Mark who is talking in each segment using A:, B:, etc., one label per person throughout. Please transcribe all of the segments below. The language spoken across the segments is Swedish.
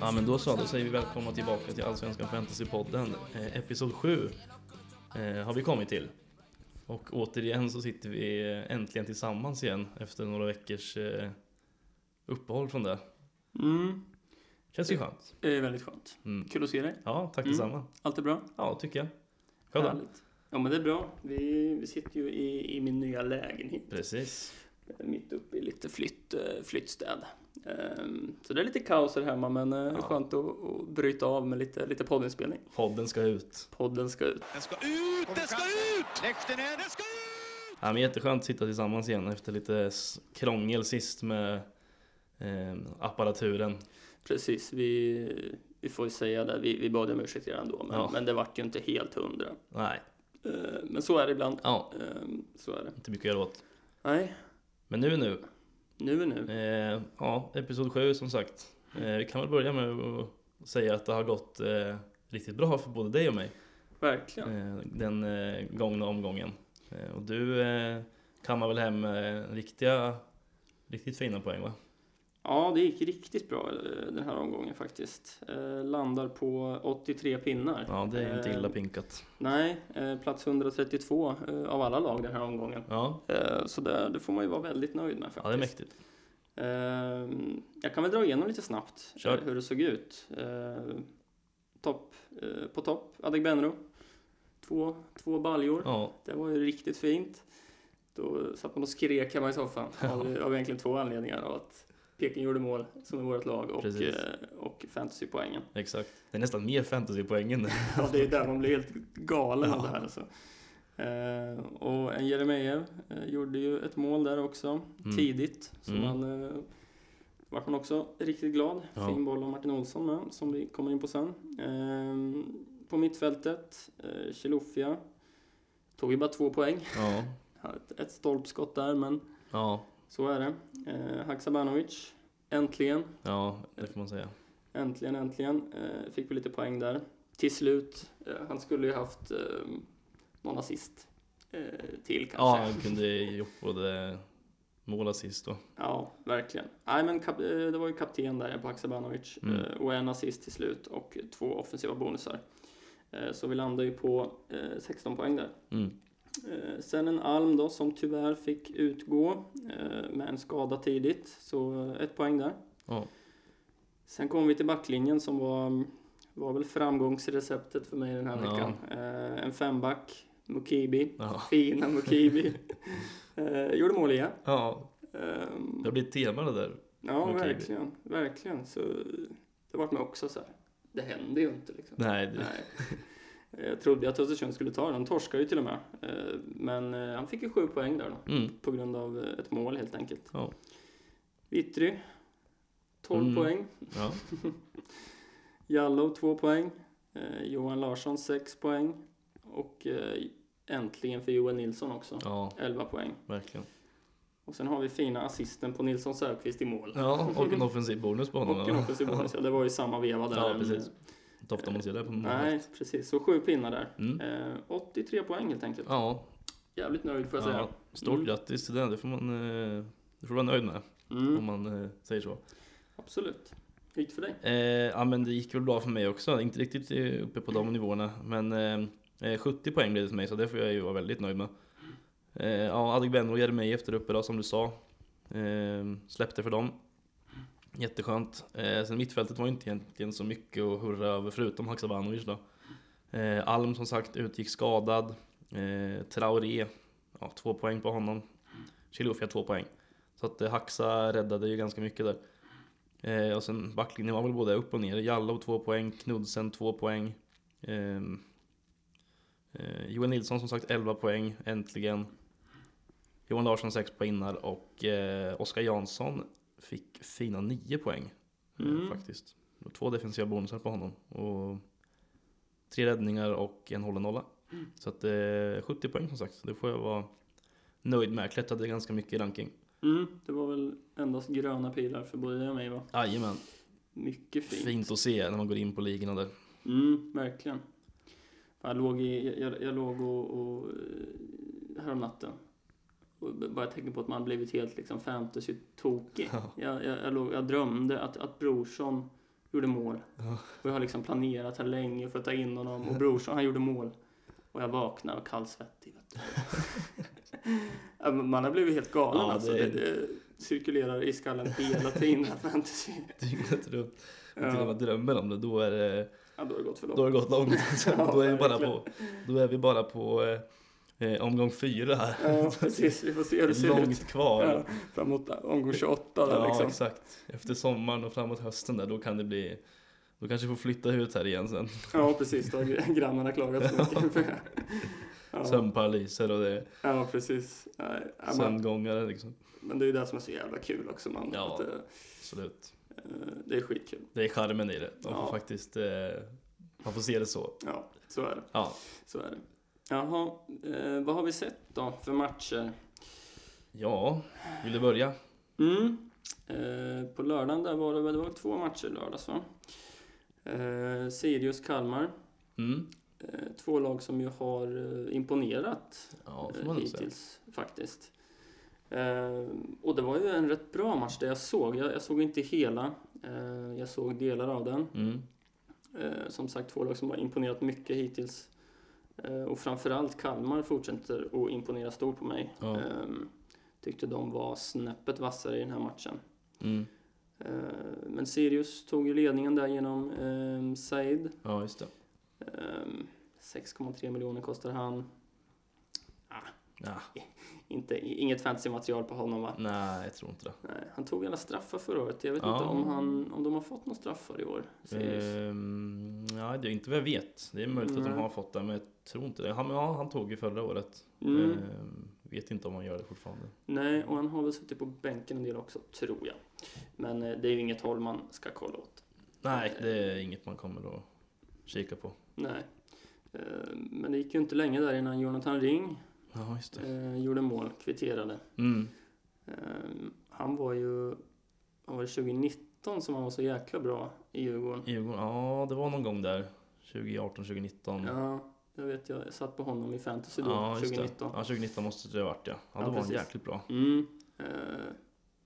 A: Ja men då så, då säger vi välkomna tillbaka till Allsvenskan Fantasypodden. Eh, episod 7 eh, har vi kommit till. Och återigen så sitter vi eh, äntligen tillsammans igen efter några veckors eh, uppehåll från det.
B: Mm,
A: Känns ju skönt.
B: det är väldigt skönt.
A: Mm.
B: Kul att se dig.
A: Ja, tack
B: Mm.
A: detsamma.
B: Allt är bra?
A: Ja, tycker jag. Själv då?
B: Härligt. Ja men det är bra. Vi, vi sitter ju i, i min nya lägenhet.
A: Precis.
B: Mitt uppe i lite flytt, eh, flyttstäd. Ehm, Så det är lite kaos här hemma men ja.
A: Ja.
B: skönt att, att bryta av med lite, lite poddinspelning.
A: Podden ska ut.
B: Podden ska ut.
C: Den ska ut, den ska ut! Lehtinen, den ska ut!
A: Ja men jätteskönt att sitta tillsammans igen efter lite s- krångel sist med eh, apparaturen.
B: Precis, vi, vi får ju säga det. Vi, vi bad om ursäkt redan då men,
A: Ja.
B: men det vart ju inte helt hundra.
A: Nej,
B: Ehm, Men så är det ibland.
A: ja,
B: Ehm, Så är det.
A: inte mycket att göra åt.
B: Nej,
A: Men nu är nu.
B: nu är nu.
A: Eh, ja, episod 7 som sagt. Eh, vi kan väl börja med att säga att det har gått eh, riktigt bra för både dig och mig
B: Verkligen.
A: eh, den eh, gångna omgången. Eh, och du eh, kammar väl hem eh, riktiga, riktigt fina poäng va?
B: Ja, det gick riktigt bra eh, den här omgången faktiskt. Eh, landar på 83 pinnar.
A: Ja, det är inte
B: Eh,
A: illa pinkat.
B: Nej, eh, plats 132 eh, av alla lag den här omgången.
A: Ja,
B: Eh, så det, det får man ju vara väldigt nöjd med faktiskt.
A: ja det är mäktigt.
B: Eh, jag kan väl dra igenom lite snabbt eh,
A: Kör.
B: hur det såg ut. Eh, topp, eh, på topp, Adegbenro. Två, två baljor.
A: Ja,
B: Det var ju riktigt fint. Då satt man och skrek hemma i soffan av, av egentligen två anledningar. Av att Peking gjorde mål, som i vårt lag, och,
A: Precis.
B: eh, och fantasypoängen.
A: exakt. Det är nästan mer fantasypoängen.
B: Ja, det är där man blir helt galen av det här. Alltså. Eh, och en Jeremejeff eh, gjorde ju ett mål där också, tidigt. Så
A: Mm.
B: man eh, vart man också riktigt glad.
A: Ja.
B: Fin boll av Martin Olsson med, som vi kommer in på sen. Eh, på mittfältet, eh, Chilufya. Tog ju bara två poäng.
A: Ja,
B: Ett, ett stolpskott där, men
A: ja,
B: så är det. Eh, Haksabanovic, äntligen,
A: ja, det får man säga.
B: äntligen, äntligen. Eh, fick vi lite poäng där. Till slut, eh, han skulle ju haft eh, någon assist eh, till
A: Ja,
B: kanske.
A: han kunde gjort både mål och assist då.
B: Ja, verkligen. Nej, men kap, eh, det var ju kapten där på Haksabanovic
A: Mm.
B: eh, och en assist till slut och två offensiva bonusar. Eh, så vi landar ju på eh, 16 poäng där.
A: Mm.
B: Eh, sen en Alm då som tyvärr fick utgå eh, med en skada tidigt, så eh, ett poäng där.
A: Ja,
B: Sen kom vi till backlinjen som var, var väl framgångsreceptet för mig den här
A: Ja.
B: veckan. Eh, en femback, Mukibi,
A: ja.
B: fina Mukibi. eh, gjorde mål igen.
A: ja
B: Ehm,
A: det blir ett tema det där.
B: ja,
A: Mukibi.
B: verkligen. Verkligen. Så det vart mig också så här. Det händer ju inte liksom.
A: Nej, det,
B: Nej. Jag trodde att Östersund skulle ta det. De torskade ju till och med. Eh, Men eh, han fick ju sju poäng där då.
A: Mm.
B: På grund av eh, ett mål helt enkelt.
A: Ja.
B: Vittry. 12
A: Mm.
B: poäng.
A: Ja.
B: Jallow 2 poäng. Eh, Johan Larsson 6 poäng. Och eh, äntligen för Joel Nilsson också.
A: ja,
B: 11 poäng.
A: verkligen.
B: Och sen har vi fina assisten på Nilsson Sökvist i mål.
A: Ja, och en offensiv bonus på honom.
B: Och en offensiv bonus. Ja, det var ju samma veva där. Mm.
A: Ja, precis. Inte ofta man ser det på
B: Nej,
A: målet.
B: precis. Så sju pinnar där.
A: Mm.
B: Eh, 83 poäng helt enkelt.
A: Ja,
B: Jävligt nöjd får jag säga.
A: ja, stort
B: Mm.
A: grattis till det. Det får man eh, det får man vara nöjd med, om
B: Mm,
A: man eh, säger så.
B: absolut. Hur gick det för dig?
A: Eh, ja, men det gick väl bra för mig också. Inte riktigt eh, uppe på de nivåerna, men eh, eh, 70 poäng blev det för mig, så det får jag ju vara väldigt nöjd med. Eh, ja, Adegbenro och Jeremejeff efter uppe då, som du sa. Eh, släppte för dem. Jätteskönt. Eh, sen mittfältet var ju inte egentligen så mycket att hurra över, förutom Haksabanovic då. Eh, Alm som sagt utgick skadad. Eh, Traoré, ja, två poäng på honom. Chilufya två poäng. Så att eh, Haxa räddade ju ganska mycket där. Eh, och sen backlinjen var väl både upp och ner. Jallow två poäng, Knudsen två poäng. Ehm, eh, Johan Nilsson som sagt 11 poäng, äntligen. Johan Larsson 6 poängar och eh, Oskar Jansson fick fina 9 poäng eh,
B: Mm.
A: faktiskt. Och två defensiva bonusar på honom. Och tre räddningar och en hållen nolla. Så att eh, 70 poäng som sagt, så det får jag vara nöjd med. Jag klättrade ganska mycket i ranking.
B: Mm, det var väl endast gröna pilar för både dig och mig va?
A: Jajamän,
B: Mycket fint.
A: fint att se när man går in på ligorna där.
B: Mm, verkligen. Jag låg, i, jag, jag låg och, och eh, härom natten och b- bara tänkte på att man blivit helt liksom fantasy-tokig.
A: Ja.
B: Jag, jag, jag, låg, jag drömde att, att Brorsson gjorde mål. Och jag har liksom planerat här länge för att ta in honom. Och brorsan, han gjorde mål. Och jag vaknade och kallsvettig. Vet du. Ja, men Man har blivit helt galen
A: Ja,
B: alltså.
A: det
B: Det,
A: är-
B: det cirkulerar i skallen hela tiden, den här fantasy.
A: Dygnet runt. Och Till och med
B: Ja,
A: drömmer om det, då är det,
B: ja, då har det gått för
A: då
B: långt.
A: har det gått långt.
B: Ja,
A: då, är vi bara
B: verkligen.
A: på, då är vi bara på eh, eh, omgång fyra här.
B: Ja, precis. Vi får se hur det
A: Det är
B: ser ut.
A: långt kvar.
B: Ja, framåt omgång 28 där
A: Ja,
B: liksom.
A: exakt. Efter sommaren och framåt hösten där, då kan det bli... Då kanske vi får flytta ut här igen sen.
B: Ja, precis. Då har gr- grannarna klagat så mycket. Ja,
A: Sömnparalyser och det,
B: ja precis. Nej, ja, man,
A: sömngångare liksom.
B: men det är ju det som är så jävla kul också. Man,
A: Ja.
B: att, eh,
A: Absolut.
B: eh, det är skitkul.
A: Det är charmen i det. Man
B: Ja.
A: får faktiskt... Eh, man får se det så.
B: Ja, så är det.
A: Ja.
B: Så är det. Jaha, eh, vad har vi sett då för matcher?
A: Ja, vill du börja?
B: Mm. Eh, på lördagen där var det, väl- det var två matcher i lördags va? Eh, Sirius-Kalmar.
A: Mm.
B: Eh, två lag som ju har eh, imponerat
A: Ja, får
B: eh,
A: man nog säga.
B: hittills faktiskt. Eh, och det var ju en rätt bra match det jag såg. Jag, jag såg inte hela, eh, jag såg delar av den.
A: Mm.
B: Eh, som sagt, två lag som har imponerat mycket hittills. Eh, och framförallt Kalmar fortsätter att imponera stort på mig.
A: Ja.
B: Eh, tyckte de var snäppet vassare i den här matchen.
A: Mm.
B: Eh, men Sirius tog ju ledningen där genom eh, Said.
A: Ja, just det.
B: Ehm, 6,3 miljoner kostar han.
A: Ja.
B: Inte, inget fancy material på honom va?
A: Nej, jag tror inte det.
B: Nej, han tog alla straffar förra året. Jag vet
A: Ja. Eh,
B: inte om, han, om de har fått några straffar i år. Sirius.
A: Ehm, ja, det är inte vad jag vet. Det är möjligt att de
B: Nej.
A: har fått det, men jag tror inte det. Han, ja, han tog ju förra året.
B: Mm.
A: Ehm, vet inte om han gör det fortfarande.
B: Nej, och han har väl suttit på bänken en del också, tror jag. Men eh, det är ju inget håll man ska kolla åt.
A: Nej, det är inget man kommer att kika på.
B: Nej. Ehm, Men det gick ju inte länge där innan Jonathan Ring
A: Ja, just det.
B: eh, gjorde mål, kvitterade.
A: Mm.
B: Ehm, Han var ju... Han var det 2019 som han var så jäkla bra i Djurgården?
A: Djurgården, ja det var någon gång där. 2018, 2019.
B: Ja, jag vet. Jag satt på honom i fantasy då,
A: Mm. Ja, just det.
B: 2019.
A: Ja, 2019 måste det ha varit ja. Ja,
B: Ja,
A: då var han
B: precis.
A: jäkligt bra.
B: Mm. Eh,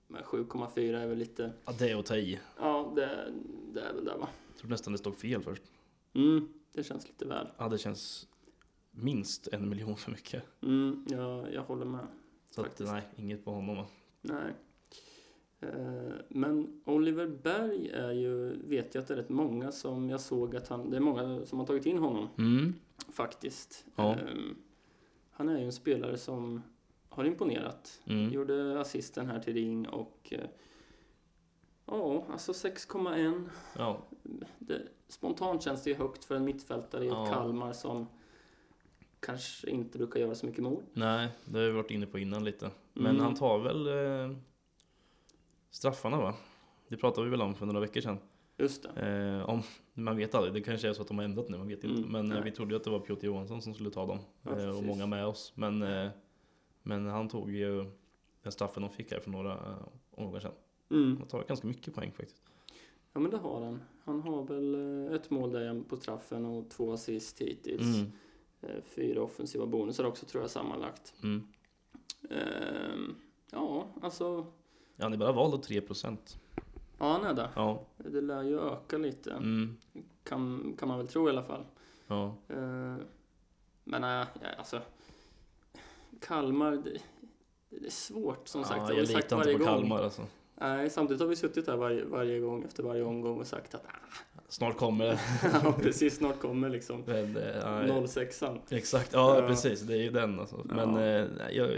B: men 7,4 är väl lite...
A: Ja, det är att ta i.
B: Ja, det, det är väl där va?
A: Jag trodde nästan det stod fel först.
B: Mm, det känns lite väl.
A: Ja, det känns minst en miljon för mycket.
B: Mm, jag, jag håller med.
A: Så att,
B: Faktiskt.
A: nej, inget på honom. alltså. va.
B: Nej. Eh, Men Oliver Berg är ju, vet jag att det är rätt många som jag såg att han, det är många som har tagit in honom
A: Mm.
B: faktiskt.
A: Ja.
B: Eh, Han är ju en spelare som har imponerat.
A: Mm.
B: Gjorde assisten här till Ring och... eh, Ja, alltså 6,1.
A: Ja,
B: Det, spontant känns det ju högt för en mittfältare i ett
A: Ja.
B: Kalmar som kanske inte brukar göra så mycket mål.
A: nej, det har vi varit inne på innan lite. Men
B: Mm.
A: han tar väl eh, straffarna va? Det pratade vi väl om för några veckor sedan.
B: Just det.
A: Eh, om, man vet aldrig, det kanske är så att de har ändrat nu, man vet inte.
B: Mm,
A: men eh,
B: nej.
A: vi trodde ju att det var Piotr Johansson som skulle ta dem.
B: Ja,
A: eh, och
B: precis.
A: många med oss. Men, eh, men han tog ju den straffen de fick här för några eh, omgångar sedan.
B: Mm.
A: Han tar ganska mycket poäng faktiskt.
B: Ja, men det har han. Han har väl eh, ett mål där på straffen och två assist hittills.
A: Mm,
B: Eh, Fyra offensiva bonusar också tror jag sammanlagt.
A: mm.
B: Ehm, ja, alltså...
A: Ja, han är bara vald av 3%.
B: Ja, han är där.
A: Ja,
B: Det lär ju öka lite,
A: mm,
B: kan, kan man väl tro i alla fall.
A: ja,
B: Eh, Men äh, ja, alltså... Kalmar, det, det är svårt som sagt.
A: ja
B: har
A: jag
B: vi sagt
A: litar inte
B: varje
A: på
B: gång.
A: Kalmar alltså.
B: Nej, samtidigt har vi suttit här varje, varje gång efter varje omgång och sagt att
A: Snart kommer det.
B: ah, precis snart kommer liksom
A: Men, eh, nej.
B: 06an.
A: Exakt, ja
B: Ja.
A: precis, det är ju den alltså.
B: Ja.
A: Men eh, nej, jag,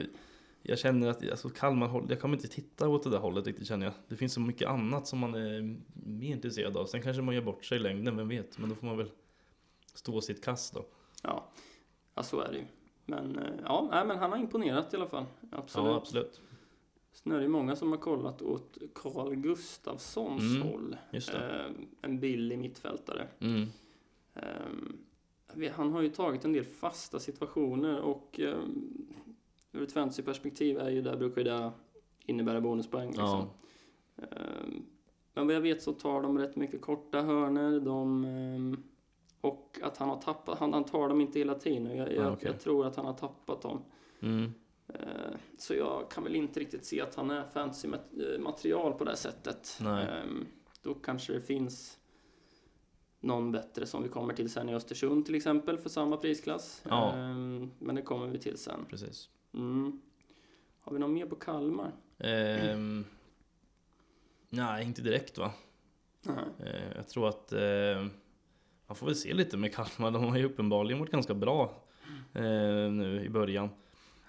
A: jag känner att alltså, Kalmar, håll- jag kommer inte titta åt det där hållet riktigt känner jag. Det finns så mycket annat som man är mer intresserad av. Sen kanske man gör bort sig i längden, vem vet? Men då får man väl stå sitt kast då.
B: Ja. ja, så är det ju. Men eh, ja, nej, men han har imponerat i alla fall. Absolut.
A: Ja, absolut.
B: Sen är det ju många som har kollat åt Carl Gustafssons
A: Mm,
B: håll.
A: Just det.
B: Eh, en billig mittfältare.
A: Mm.
B: Ehm, vi- Han har ju tagit en del fasta situationer och ehm, ur ett fantasyperspektiv är ju där brukar ju det innebära bonuspoäng. Liksom.
A: Ja.
B: Ehm, Men vad jag vet så tar de rätt mycket korta hörner de, ehm, och att han har tappat, han, han tar dem inte hela tiden. och Jag, jag,
A: Ah, okej.
B: jag tror att han har tappat dem.
A: Mm.
B: Ehm, Så jag kan väl inte riktigt se eh, att han är fantasymaterial på det här sättet.
A: Nej.
B: Ehm, Då kanske det finns någon bättre som vi kommer till sen i Östersund till exempel för samma prisklass.
A: Ja.
B: Ehm, Men det kommer vi till sen.
A: Precis.
B: Mm. Har vi någon mer på Kalmar?
A: Ehm, nej, inte direkt va?
B: Nej.
A: Eh, jag tror att eh, man får väl se lite med Kalmar. De har ju uppenbarligen varit ganska bra eh, nu i början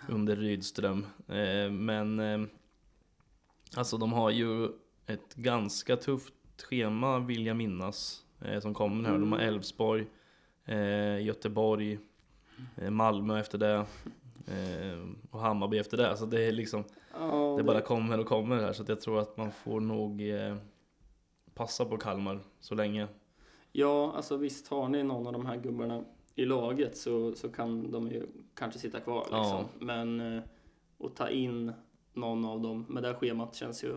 A: under Rydström. Eh, men eh, alltså de har ju ett ganska tufft schema vill jag minnas eh, som kommer här. De har Elfsborg, eh, Göteborg, eh, Malmö efter det. eh, Och Hammarby efter det, så det är liksom
B: Ja,
A: det bara kommer och kommer här så att jag tror att man får nog eh, passa på Kalmar så länge.
B: ja, alltså visst har ni någon av de här gubbarna i laget så, så kan de ju kanske sitta kvar. Liksom.
A: Ja.
B: Men eh, att ta in någon av dem med det här schemat känns ju...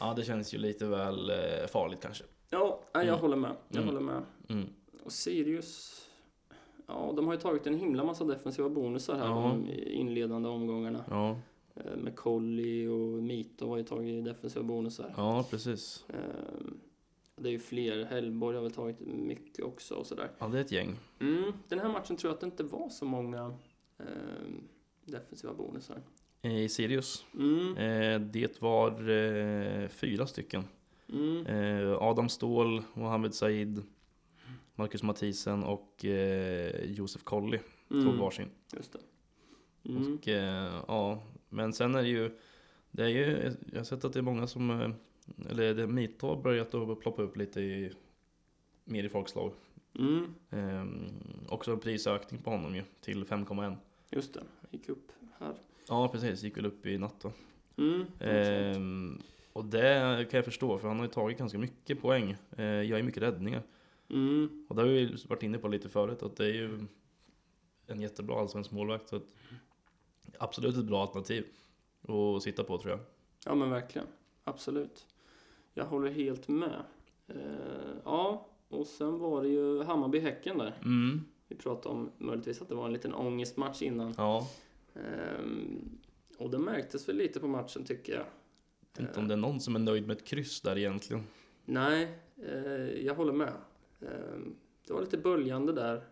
A: Ja, det känns ju lite väl eh, farligt kanske.
B: Ja, nej, jag
A: Mm.
B: håller med. Jag
A: Mm.
B: håller med.
A: Mm.
B: Och Sirius... Ja, de har ju tagit en himla massa defensiva bonusar här
A: Ja.
B: de inledande omgångarna.
A: Ja,
B: Eh, Med Colli och Mito har ju tagit defensiva bonusar.
A: ja precis.
B: Ehm, Det är ju fler. Hellborg har väl tagit mycket också och sådär.
A: Ja, det är ett gäng.
B: Mm, den här matchen tror jag att det inte var så många ehm, defensiva bonusar.
A: Eh, I Sirius.
B: Mm,
A: Eh, det var eh, fyra stycken.
B: mm,
A: Eh, Adam Ståhl, Mohamed Said, Marcus Mathisen och eh, Josef Colley tog
B: mm,
A: varsin.
B: just det. Mm,
A: Och, eh, ja, men sen är det ju, det är ju, jag har sett att det är många som, eh, eller det Mito har börjat att ploppa upp lite i, mer i folkslag.
B: mm,
A: Eh, också en prisökning på honom ju, till 5,1.
B: just det. Gick upp här.
A: Ja precis, gick väl upp i natt då.
B: Mm, något sånt.
A: Ehm, och det kan jag förstå för han har ju tagit ganska mycket poäng. Eh, jag är mycket räddningar.
B: mm,
A: Och det har vi ju varit inne på lite förut att det är ju en jättebra allsvensk målvakt. Så att absolut ett bra alternativ att sitta på tror jag.
B: ja men verkligen. Absolut. Jag håller helt med. Eh, ja, och sen var det ju Hammarby-Häcken där.
A: Mm,
B: Vi pratade om möjligtvis att det var en liten ångestmatch innan.
A: ja,
B: Ehm, och det märktes väl lite på matchen tycker jag.
A: jag vet inte om det är någon som är nöjd med ett kryss där egentligen.
B: Nej, eh, jag håller med. Eh, det var lite böljande där.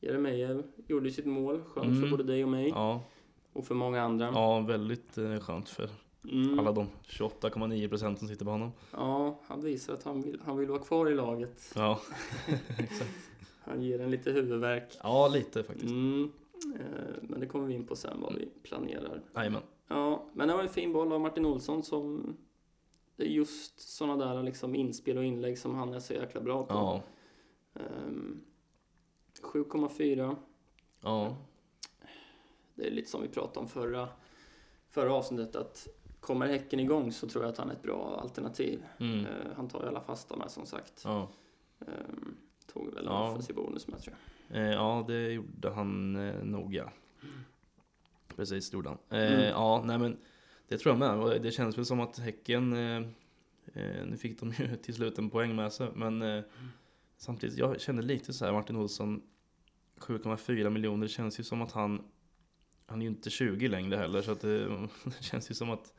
B: Jeremejeff gjorde sitt mål, skönt för
A: Mm.
B: både dig och mig
A: Ja,
B: och för många andra.
A: ja väldigt eh, skönt för
B: Mm.
A: alla de 28,9 procent som sitter på honom.
B: ja, han visar att han vill, han vill vara kvar i laget.
A: Ja,
B: Han ger en lite huvudvärk.
A: ja lite faktiskt.
B: Mm. Eh, men det kommer vi in på sen vad vi planerar.
A: Jajamän.
B: Ja, men det var en fin boll av Martin Olsson som det är just sådana där liksom inspel och inlägg som han är så jäkla bra på.
A: Ja,
B: Ehm, 7,4.
A: ja,
B: Det är lite som vi pratade om förra, förra avsnittet att kommer Häcken igång så tror jag att han är ett bra alternativ.
A: mm,
B: Eh, han tar ju alla fasta med som sagt.
A: ja.
B: Ehm, tog väl en
A: Ja.
B: offensiv bonus med tror jag.
A: Eh, ja, det gjorde han eh, nog ja. Precis, det gjorde han. Eh,
B: Mm.
A: Ja, nej men det tror jag med. Och Det känns väl som att Häcken, eh, eh, nu fick de ju till slut en poäng med sig, men eh, samtidigt, jag kände lite så här, Martin Olsson, 7,4 miljoner, det känns ju som att han, han är ju inte 20 längre heller, så att det, det känns ju som att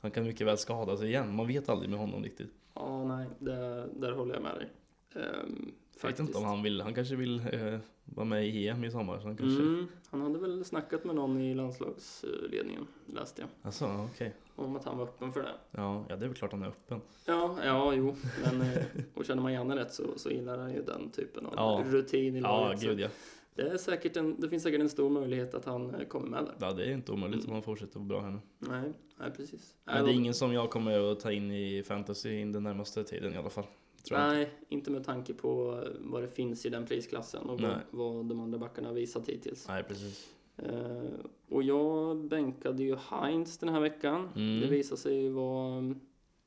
A: han kan mycket väl skada sig igen. Man vet aldrig med honom riktigt.
B: Ja, nej, det, där håller jag med dig. Ehm,
A: Jag vet inte om han vill, han kanske vill eh, vara med i EM i sommar, så han kanske...
B: Mm, han hade väl snackat med någon i landslagsledningen, läste jag.
A: Alltså, okej.
B: Om att han var öppen för det.
A: Ja, ja, det är väl klart han är öppen.
B: Ja, ja, jo. Men, eh, och känner man Janne rätt så, så gillar han ju den typen av
A: Ja.
B: rutin i
A: Ja,
B: laget. så
A: gud ja.
B: det, är säkert en, det finns säkert en stor möjlighet att han eh, kommer med där.
A: ja. Det är inte omöjligt
B: Mm.
A: om han fortsätter vara bra här nu.
B: Nej, nej precis.
A: Men det är ingen som jag kommer att ta in i fantasy in den närmaste tiden i alla fall. Tror jag. inte.
B: Nej, inte med tanke på eh, vad det finns i den prisklassen och vad,
A: Nej.
B: vad de andra backarna har visat hittills.
A: Nej, precis.
B: Eh, och jag bänkade ju Heinz den här veckan.
A: Mm.
B: Det visade sig ju vara mm,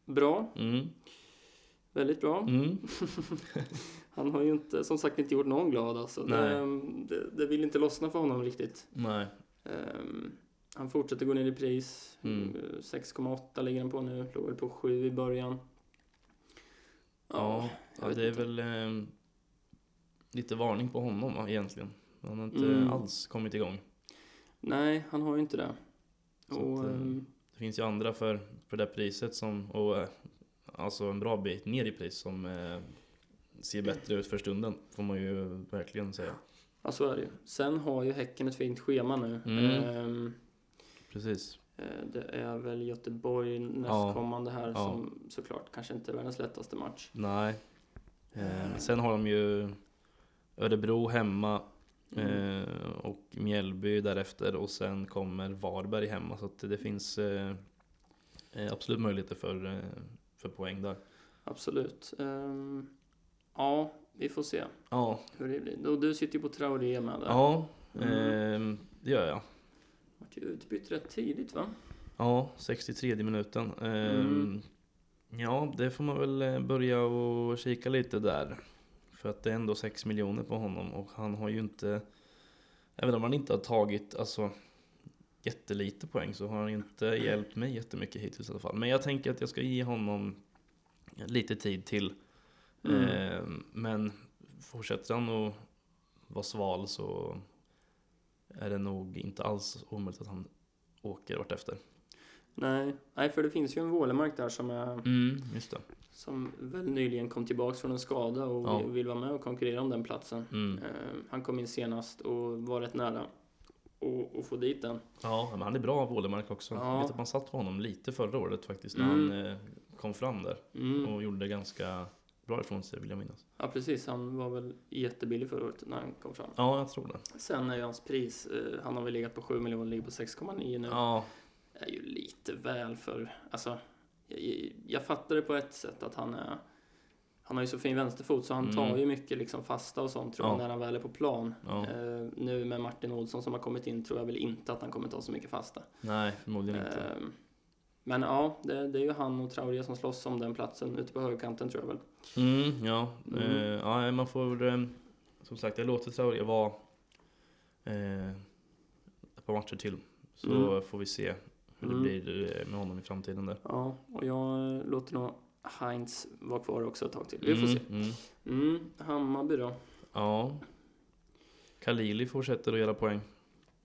B: bra,
A: Mm.
B: väldigt bra.
A: Mm.
B: Han har ju inte, som sagt inte gjort någon glad alltså. Det, det, det vill inte lossna för honom riktigt.
A: Nej.
B: Ehm, han fortsätter gå ner i pris.
A: Mm.
B: Eh, 6,8 ligger han på nu. Låg väl på 7 i början.
A: Ja,
B: jag
A: ja
B: vet
A: det är
B: inte.
A: väl eh, lite varning på honom va, egentligen. Han har inte
B: Mm.
A: alls kommit igång.
B: Nej, han har ju inte det.
A: Så
B: Och,
A: att, eh,
B: ehm,
A: Det finns ju andra för, för det priset som, och eh, alltså en bra bit ner i pris som eh, ser bättre ut för stunden, får man ju verkligen säga.
B: Ja, så är det ju. Sen har ju Häcken ett fint schema nu.
A: Mm.
B: Ehm,
A: Precis.
B: eh, det är väl Göteborg nästkommande här
A: Ja.
B: som såklart kanske inte är världens lättaste match.
A: Nej. Eh, sen har de ju Örebro hemma eh, och Mjällby därefter och sen kommer Varberg hemma så att det finns eh, eh, absolut möjligheter för, eh, för poäng där.
B: Absolut. Ehm, ja, vi får se
A: Ja,
B: hur det blir. Och du sitter ju på Traoré med där.
A: ja
B: Mm.
A: eh, det gör jag.
B: Vart ju utbytt rätt tidigt va?
A: Ja, 63 minuten. Eh,
B: Mm.
A: Ja, det får man väl eh, börja och kika lite där. För att det är ändå 6 miljoner på honom och han har ju inte, även om han inte har tagit alltså, jättelite poäng så har han inte hjälpt mig jättemycket hittills i alla fall. Men jag tänker att jag ska ge honom lite tid till.
B: Mm.
A: Eh, men fortsätter han att vara sval så är det nog inte alls omöjligt att han åker vartefter.
B: Nej. Nej, för det finns ju en Vålemark där som, är,
A: Mm, just det.
B: som väl nyligen kom tillbaks från en skada och
A: Ja.
B: vill- vill vara med och konkurrera om den platsen.
A: Mm.
B: Ehm, han kom in senast och var rätt nära och, och få dit den.
A: Ja, men han är bra Wålemark också.
B: Ja.
A: Jag vet att man satt på honom lite förra året faktiskt när
B: Mm.
A: han eh, kom fram där
B: Mm.
A: och gjorde ganska bra ifrån sig vill jag minnas.
B: Ja precis, han var väl jättebillig förra året när han kom fram.
A: Ja, jag tror det.
B: Sen är ju hans pris, eh, han har väl legat på 7 miljoner, ligger på 6,9 nu.
A: Ja,
B: Är ju lite väl för, alltså, jag- jag, jag fattar det på ett sätt att han är, han har ju så fin vänsterfot så han
A: Mm.
B: tar ju mycket liksom fasta och sånt tror jag
A: Ja.
B: när han väl är på plan.
A: ja.
B: Eh, nu med Martin Olsson som har kommit in tror jag väl inte att han kommer ta så mycket fasta.
A: nej förmodligen inte.
B: Ehm, Men ja, det, det är ju han och Traoré som slåss om den platsen ute på högerkanten tror jag väl.
A: Mm, ja.
B: Mm.
A: Eh, ja, man får eh, som sagt, jag låter Traoré vara eh, ett par matcher till så
B: Mm.
A: får vi se hur det
B: Mm.
A: blir eh, med honom i framtiden där.
B: Ja, och jag eh, låter nog Heinz vara kvar också ett tag till. Vi får se.
A: Mm.
B: Mm, Hammarby då.
A: Ja. Kalili fortsätter att göra poäng.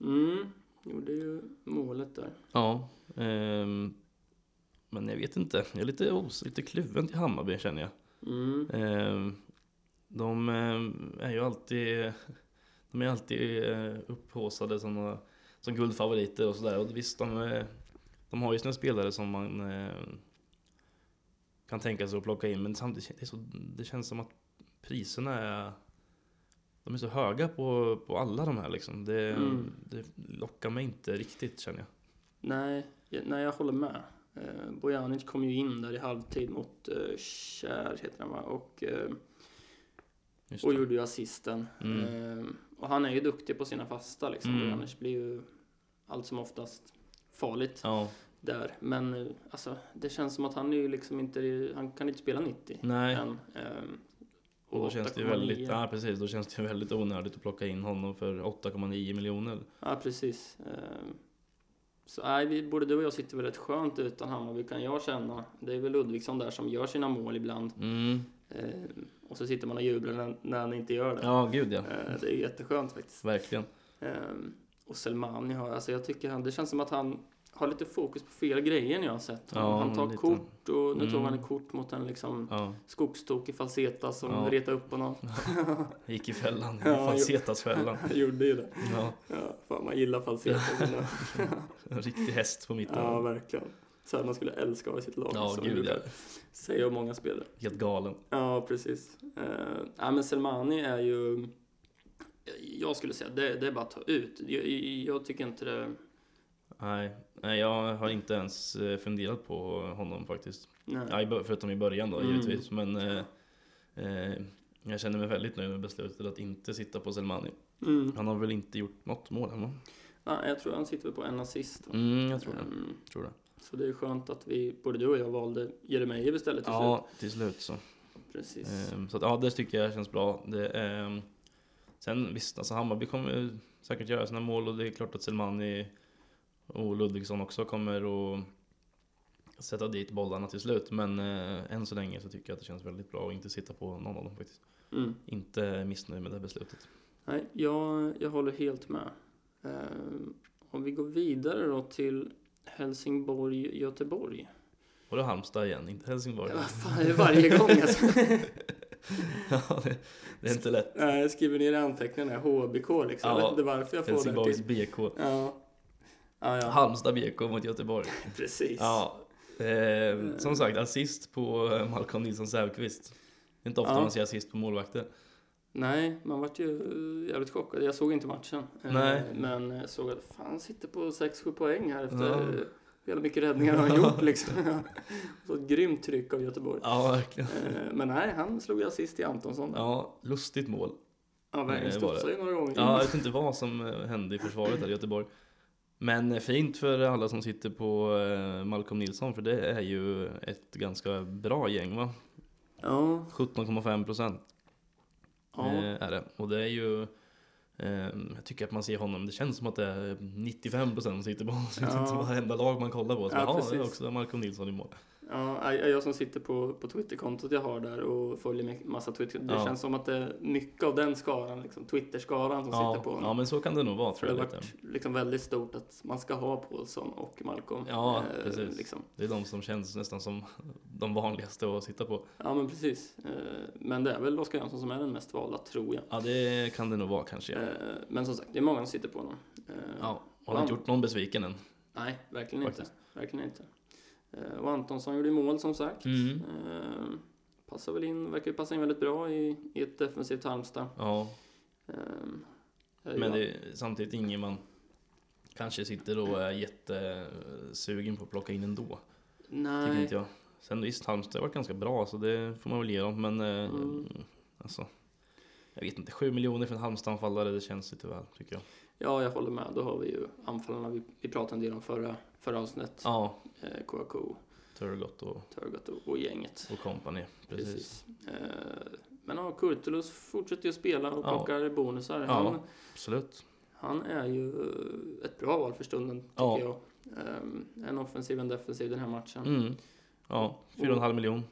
B: Mm, gjorde ju målet där.
A: Ja. ehm, men jag vet inte. Jag är lite, os- lite kluven till Hammarby känner jag.
B: Mm,
A: Ehm, de ehm, är ju alltid, de är alltid eh, upphaussade som, några- som guldfavoriter och sådär. Och visst, de, eh, de har ju sina spelare som man eh, kan tänka sig att plocka in. Men samtidigt kän- det är så, det känns som att priserna är de är så höga på, på alla de här liksom. Det,
B: Mm.
A: det lockar mig inte riktigt känner jag.
B: nej, jag- nej, jag håller med. Eh, Bojanic kom ju in där i halvtid mot eh, Kjär, heter han va? Och, eh,
A: Just
B: och
A: det.
B: gjorde ju assisten.
A: Mm.
B: Eh, och han är ju duktig på sina fasta liksom.
A: Mm.
B: Bojanic blir ju allt som oftast farligt
A: Ja,
B: där. Men eh, alltså, det känns som att han är ju liksom inte, han kan inte spela 90
A: nej.
B: än. Eh,
A: Och då känns det ju
B: 8,9.
A: väldigt, ja, precis, då känns det ju väldigt onödigt att plocka in honom för 8,9 miljoner.
B: Ja, precis. Ehm, Så nej, vi, både du och jag sitter väl rätt skönt utan Hammarby kan jag känna. Det är väl Ludvigsson där som gör sina mål ibland.
A: Mm.
B: Ehm, Och så sitter man och jublar när, när han inte gör det.
A: Ja, gud ja.
B: Ehm, Det är jätteskönt faktiskt.
A: Verkligen.
B: Ehm, Och Selmani har, alltså jag tycker han, det känns som att han har lite fokus på fel grejer när jag har sett honom.
A: Ja,
B: han tar
A: lite.
B: kort och nu tog
A: Mm.
B: han ett kort mot en liksom
A: Ja.
B: skogstokig falseta som
A: Ja.
B: retade upp honom.
A: Gick i fällan, i
B: Ja, jo.
A: falsetasfällan.
B: Han gjorde ju det.
A: Ja,
B: Ja, fan man gillar falseta.
A: en riktig häst på mitten.
B: Ja,
A: Ja,
B: verkligen. Söderman skulle älska att ha i sitt lag. som vi
A: gud ja.
B: brukar Säga om många spelare.
A: Helt galen.
B: Ja, precis. Uh, ja, men Selmani är ju... Jag skulle säga det, det är bara att ta ut. Jag, jag tycker inte det...
A: Nej, nej, jag har inte ens eh, funderat på honom faktiskt.
B: Nej.
A: Ja, i bör- förutom i början då
B: Mm.
A: givetvis. Men eh, eh, jag känner mig väldigt nöjd med beslutet att inte sitta på Selmani.
B: Mm.
A: Han har väl inte gjort något mål än va?
B: Ja, jag tror han sitter på en assist. va?
A: Mm, jag tror det.
B: Ehm,
A: Tror det.
B: så det är skönt att vi, både du och jag, valde Jeremejeff istället till
A: Ja, till slut så.
B: slut. Precis.
A: Ehm, Så att, ja, det tycker jag känns bra. Det, ehm, sen visst, alltså Hammarby kommer ju säkert göra sina mål och det är klart att Selmani och Ludvigsson också kommer att sätta dit bollarna till slut. Men eh, än så länge så tycker jag att det känns väldigt bra att inte sitta på någon av dem faktiskt.
B: Mm.
A: Inte missnöjd med det här beslutet.
B: Nej, jag, jag håller helt med. Ehm, om vi går vidare då till Helsingborg-Göteborg.
A: Och då Halmstad igen, inte Helsingborg.
B: Ja, vad fan, det är varje gång alltså.
A: Ja, det, det är inte lätt.
B: Nej, jag skriver ner i anteckningarna HBK liksom. Jag
A: Ja,
B: vet inte varför jag får det
A: Helsingborgs
B: till.
A: BK.
B: Ja. Ja, ja.
A: Halmstad BK mot Göteborg.
B: Precis.
A: Ja. Eh, som sagt, assist på eh, Malcolm Nilsson Säfqvist. Det är inte ofta
B: Ja.
A: man ser assist på målvakter.
B: Nej, man vart ju eh, jävligt chockad. Jag såg inte matchen. Eh,
A: Nej.
B: Men eh, såg att fan han sitter på 6-7 poäng här efter
A: Ja.
B: ja. hela mycket räddningar har han gjort liksom. Så ett grymt tryck av Göteborg.
A: Ja, verkligen.
B: Eh, Men nej, han slog ju assist till Antonsson. Ja,
A: Ja, lustigt mål.
B: ja verkligen.
A: det Eh, var det.
B: Studsade ju några gånger.
A: Ja, jag vet inte vad som eh, hände i försvaret där i Göteborg. Men eh, fint för alla som sitter på eh, Malcolm Nilsson, för det är ju ett ganska bra gäng va?
B: ja.
A: 17,5 procent
B: ja.
A: eh, är det. Och det är ju... Eh, jag tycker att man ser honom, det känns som att det är 95 procent som sitter på honom. Det
B: Ja.
A: känns som varenda lag man kollar på. Så
B: Ja,
A: ja, bara, "Ah, det är
B: precis.
A: också Malcolm Nilsson i mål.
B: Ja, jag, jag som sitter på, på Twitterkontot jag har där och följer med massa Twitter. Det
A: Ja.
B: känns som att det är mycket av den skaran, liksom, Twitterskaran som
A: Ja,
B: sitter på honom.
A: ja, men så kan det nog vara
B: För det
A: tror
B: har
A: jag. Lite.
B: varit liksom väldigt stort att man ska ha Paulsson och Malcolm.
A: Ja,
B: Eh,
A: precis.
B: Liksom.
A: Det är de som känns nästan som de vanligaste att sitta på.
B: Ja, men precis. Eh, Men det är väl Oskar Jönsson som är den mest valda, tror jag.
A: Ja, det kan det nog vara kanske. Ja.
B: Eh, Men som sagt, det är många som sitter på honom. Eh,
A: Ja, och har inte gjort någon besviken än.
B: Nej, verkligen inte.
A: Faktiskt.
B: Verkligen inte. Eh, Och Antonsson gjorde ju mål, som sagt.
A: Mm.
B: Eh, Passar väl in, verkar ju passa in väldigt bra i, i ett defensivt Halmstad.
A: Ja,
B: Ehm,
A: men
B: ja.
A: det är samtidigt ingen man kanske sitter och är jättesugen på att plocka in ändå. Tycker
B: Nej,
A: inte jag. Sen visst, Halmstad har varit ganska bra så det får man väl ge dem. Men eh,
B: Mm.
A: alltså, jag vet inte, 7 miljoner för en Halmstad-anfallare, det känns lite väl tycker jag.
B: ja, jag håller med. Då har vi ju anfallarna vi, vi pratade en del om förra, förra avsnittet.
A: Ja,
B: Eh, KK,
A: Turgott och,
B: Turgot och, och gänget.
A: och company. Precis.
B: Eh, men ja, Kurtulus fortsätter ju spela och
A: Ja.
B: plockar bonusar. Han,
A: Ja, absolut.
B: han är ju eh, ett bra val för stunden, tycker
A: Ja.
B: jag. Ehm, en offensiv, en defensiv den här matchen.
A: Mm. Ja, 4,5 miljon.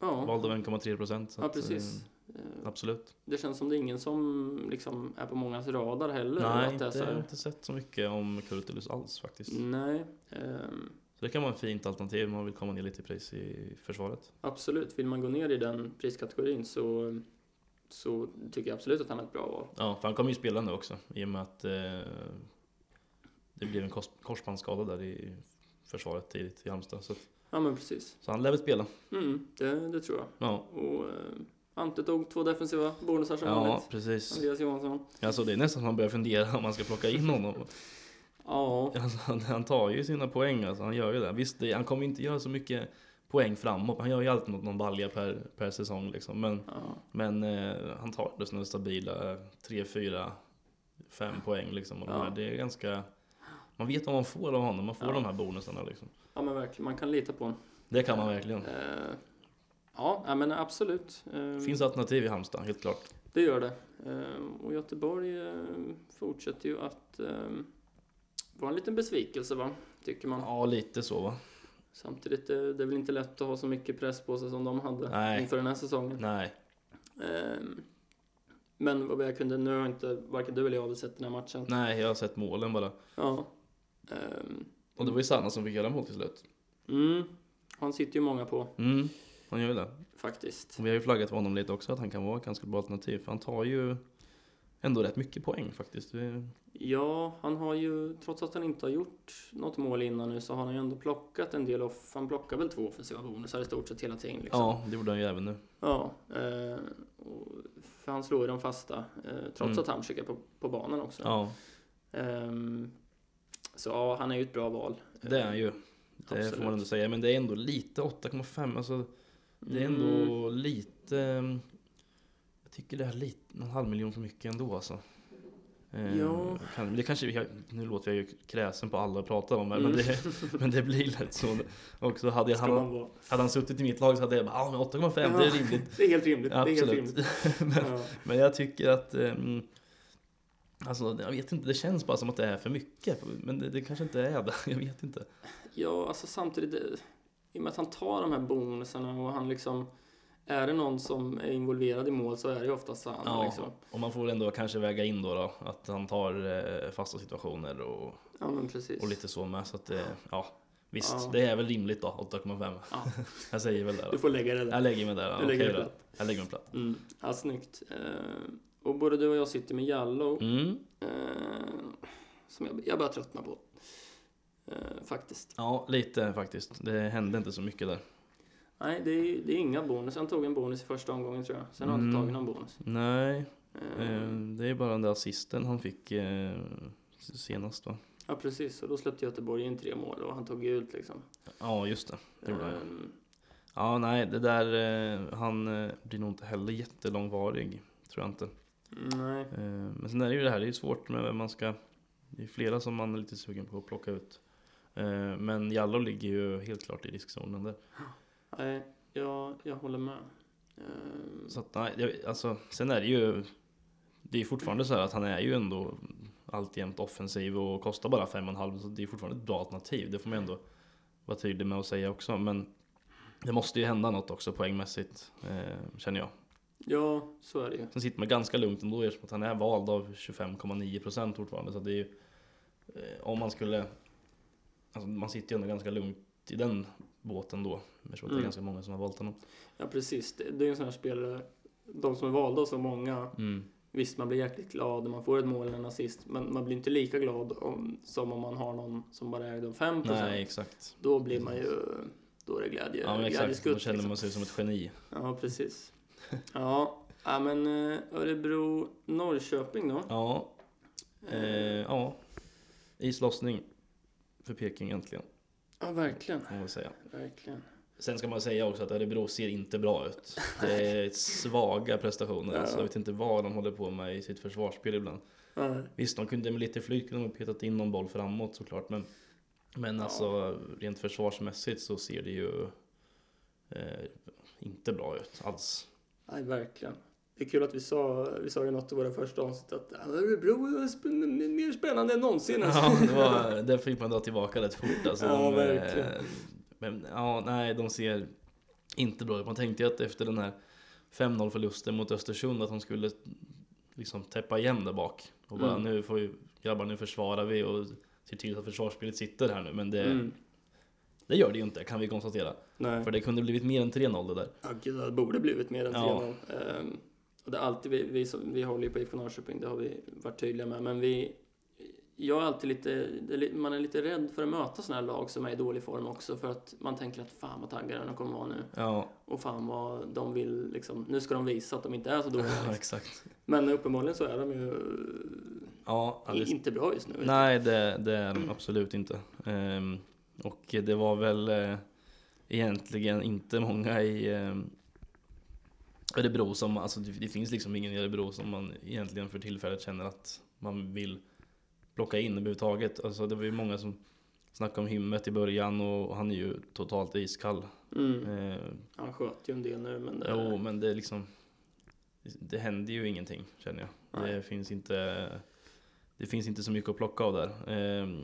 B: Ja,
A: Valde av 1,3 procent. så
B: ja,
A: att,
B: precis.
A: eh,
B: Eh,
A: Absolut.
B: Det känns som det är ingen som liksom är på mångas radar heller.
A: Nej,
B: att det är
A: inte,
B: så
A: jag har
B: här, Mm.
A: inte sett så mycket om Kurtulus alls faktiskt.
B: nej. Ehm,
A: Så det kan vara ett fint alternativ om man vill komma ner lite i pris i försvaret.
B: Absolut, vill man gå ner i den priskategorin så, så tycker jag absolut att han är ett bra val.
A: Ja, för han kommer ju spela nu också i och med att eh, det blev en kors, korsbandsskada där i försvaret tidigt i Halmstad. Så, att-
B: Ja men precis,
A: så han lär väl spela.
B: mm, det, det tror jag.
A: Ja,
B: Och eh, Ante tog två defensiva bonusar som
A: ja
B: vanligt.
A: precis.
B: Andreas Johansson.
A: Alltså det är nästan som man börjar fundera om man ska plocka in honom.
B: Ja,
A: Alltså, han, han tar ju sina poäng alltså, han gör ju det. Visst, det, han kommer inte göra så mycket poäng framåt. Han gör ju alltid någon, någon balja per, per säsong liksom. Men,
B: ja,
A: men eh, han tar det sina stabila 3, 4, 5 poäng liksom. Och de
B: Ja.
A: här, det är ganska... Man vet vad man får av honom. Man får
B: Ja.
A: de här bonusarna liksom.
B: ja men verkligen, man kan lita på honom.
A: Det kan man verkligen.
B: Eh, ja, ja, men absolut. Eh,
A: Finns alternativ i Halmstad, helt klart.
B: Det gör det. Eh, och Göteborg eh, fortsätter ju att eh, vara en liten besvikelse va, tycker man.
A: Ja, lite så va?
B: Samtidigt, eh, det är väl inte lätt att ha så mycket press på sig som de hade
A: Nej.
B: inför den här säsongen.
A: Nej.
B: Ehm, Men vad jag kunde, nu har inte varken du eller jag sett den här matchen.
A: Nej, jag har sett målen bara.
B: Ja. Ehm,
A: Och det var ju Sanna som fick göra mål till slut.
B: Mm. Han sitter ju många på
A: Mm, han gör ju det.
B: faktiskt.
A: Och vi har ju flaggat för honom lite också, att han kan vara ett ganska bra alternativ. För han tar ju ändå rätt mycket poäng faktiskt. Det-
B: Ja, han har ju, trots att han inte har gjort något mål innan nu, så har han ju ändå plockat en del off. Han plockar väl två offensiva bonusar i stort sett hela tiden. Liksom.
A: Ja, det gjorde han ju även nu.
B: Ja, eh, och, för han slår ju de fasta, eh, trots
A: Mm.
B: att han skickar på, på banan också.
A: Ja,
B: Ehm, så ja, han är ju ett bra val.
A: det är han ju. Det
B: Absolut.
A: får man ändå säga. Men det är ändå lite 8,5. Alltså, det är
B: Mm.
A: ändå lite... eh, Jag tycker det är lite, någon halv miljon för mycket ändå alltså. Eh,
B: Ja.
A: Kan, men det kanske, jag, nu låter jag ju kräsen på alla jag pratar om här,
B: Mm.
A: men, det, men det blir lätt så. Också hade, jag,
B: Ska
A: hade,
B: man vara.
A: hade han suttit i mitt lag så hade jag bara ah, men 8,5 det är
B: Ja.
A: rimligt.
B: Det är helt rimligt. Det är helt
A: Absolut.
B: rimligt.
A: men,
B: Ja.
A: Men jag tycker att ehm, Alltså jag vet inte, det känns bara som att det är för mycket. Men det, det kanske inte är det, jag vet inte.
B: ja, alltså samtidigt, eh, i och med att han tar de här bonusarna och han liksom, är det någon som är involverad i mål så är det ju oftast han.
A: Ja.
B: Liksom.
A: Och man får ändå kanske väga in då, då att han tar eh, fasta situationer och,
B: ja men precis.
A: och lite så med. Så att, eh, ja. Visst,
B: Ja.
A: det är väl rimligt då, 8,5.
B: Ja,
A: Jag säger väl det
B: du
A: då.
B: får lägga det där.
A: Jag lägger mig där. ja,
B: Du lägger
A: okej
B: dig
A: då. Jag lägger mig platt.
B: Mm. Ja, snyggt. Eh, och både du och jag sitter med Yallow.
A: Mm.
B: Eh, som jag, jag börjar tröttna på. Eh, faktiskt.
A: Ja, lite faktiskt. Det hände inte så mycket där.
B: Nej, det är, det är inga bonus. Han tog en bonus i första omgången tror jag. Sen har han inte
A: Mm.
B: tagit någon bonus.
A: Nej,
B: Eh,
A: eh, det är bara den där assisten han fick eh, senast va?
B: Ja, precis. Och då släppte Göteborg in tre mål och han tog gult liksom.
A: Ja, just det. Det gjorde han, ja.
B: Ehm,
A: Ja, nej, det där, eh, han eh, blir nog inte heller jättelångvarig, tror jag inte.
B: Nej.
A: Eh, Men sen är det ju det här, det är ju svårt med vem man ska, det är flera som man är lite sugen på att plocka ut. Eh, Men Jallow ligger ju helt klart i riskzonen där.
B: Nej, jag, jag håller med. Ehm,
A: Så att, nej, det- alltså, sen är det ju, det är fortfarande så här att han är ju ändå alltjämt offensiv och kostar bara 5,5 så det är fortfarande ett bra alternativ, det får man ju ändå vara tydlig med att säga också. Men det måste ju hända något också poängmässigt, eh, känner jag.
B: Ja, så är det ju.
A: Sen sitter man ganska lugnt ändå eftersom att han är vald av 25,9% fortfarande. Så det är ju, eh, om man skulle... Alltså man sitter ju ändå ganska lugnt i den båten då. Eftersom att det
B: Mm.
A: är ganska många som har valt honom.
B: Ja, precis. Det, det är en sån här spelare. De som är valda av så många.
A: Mm.
B: Visst, man blir jäkligt glad när man får ett mål eller en assist. Men man blir inte lika glad om, som om man har någon som bara äger de 5
A: Nej, exakt.
B: Då blir man ju... Då är liksom. det glädje.
A: Ja, men exakt.
B: glädjeskutt,
A: Då känner man sig som ett geni.
B: Ja, precis. Ja, ja men eh, Örebro-Norrköping då.
A: Ja, eh,
B: Eh,
A: ja. Islossning för Peking äntligen,
B: Ja, verkligen.
A: får man väl säga.
B: Verkligen.
A: Sen ska man säga också att Örebro ser inte bra ut. Det är svaga prestationer.
B: Ja.
A: Alltså, jag vet inte vad de håller på med i sitt försvarsspel ibland.
B: Ja,
A: Visst, de kunde med lite flyt kunde de ha petat in någon boll framåt såklart, men, men
B: Ja.
A: alltså rent försvarsmässigt så ser det ju eh, inte bra ut alls.
B: Nej, verkligen. Det är kul att vi sa, vi sa i något av våra första avsnitt att "Ja, Örebro är sp- mer spännande än någonsin. alltså.
A: Ja, det, var, det fick man dra tillbaka rätt fort. Alltså,
B: Ja,
A: de, eh,
B: verkligen.
A: men ja, nej, de ser inte bra ut. Man tänkte ju att efter den här 5-0 förlusten mot Östersund att de skulle liksom täppa igen där bak. Och bara
B: Mm.
A: nu får vi, grabbar nu försvarar vi och ser till att försvarsspelet sitter här nu. Men det,
B: Mm.
A: det gör det ju inte kan vi konstatera.
B: Nej.
A: För det kunde blivit mer än 3-0 det där.
B: Ja, gud, det borde blivit mer än 3-0.
A: Ja.
B: Ehm, och det är alltid vi, vi, som, vi håller ju på IFK Norrköping, det har vi varit tydliga med. Men vi, jag är alltid lite, det är li- man är lite rädd för att möta sådana här lag som är i dålig form också. För att man tänker att fan vad taggade de kommer vara nu.
A: Ja,
B: Och fan vad de vill liksom, nu ska de visa att de inte är så dåliga.
A: ja
B: Liksom.
A: exakt.
B: Men uppenbarligen så är de ju
A: Ja,
B: i-
A: alldeles.
B: inte bra just nu.
A: Nej, det, det är de absolut inte. Ehm, och det var väl eh, egentligen inte många i ehm, Örebro som, alltså det, det finns liksom ingen i Örebro som man egentligen för tillfället känner att man vill plocka in överhuvudtaget. Alltså det var ju många som snackade om himmet i början och han är ju totalt iskall.
B: Mm.
A: Ehm,
B: Han sköt ju en del nu, men...
A: Jo, men det är liksom Det händer ju ingenting känner jag.
B: Nej.
A: Det finns inte Det finns inte så mycket att plocka av där. Ehm,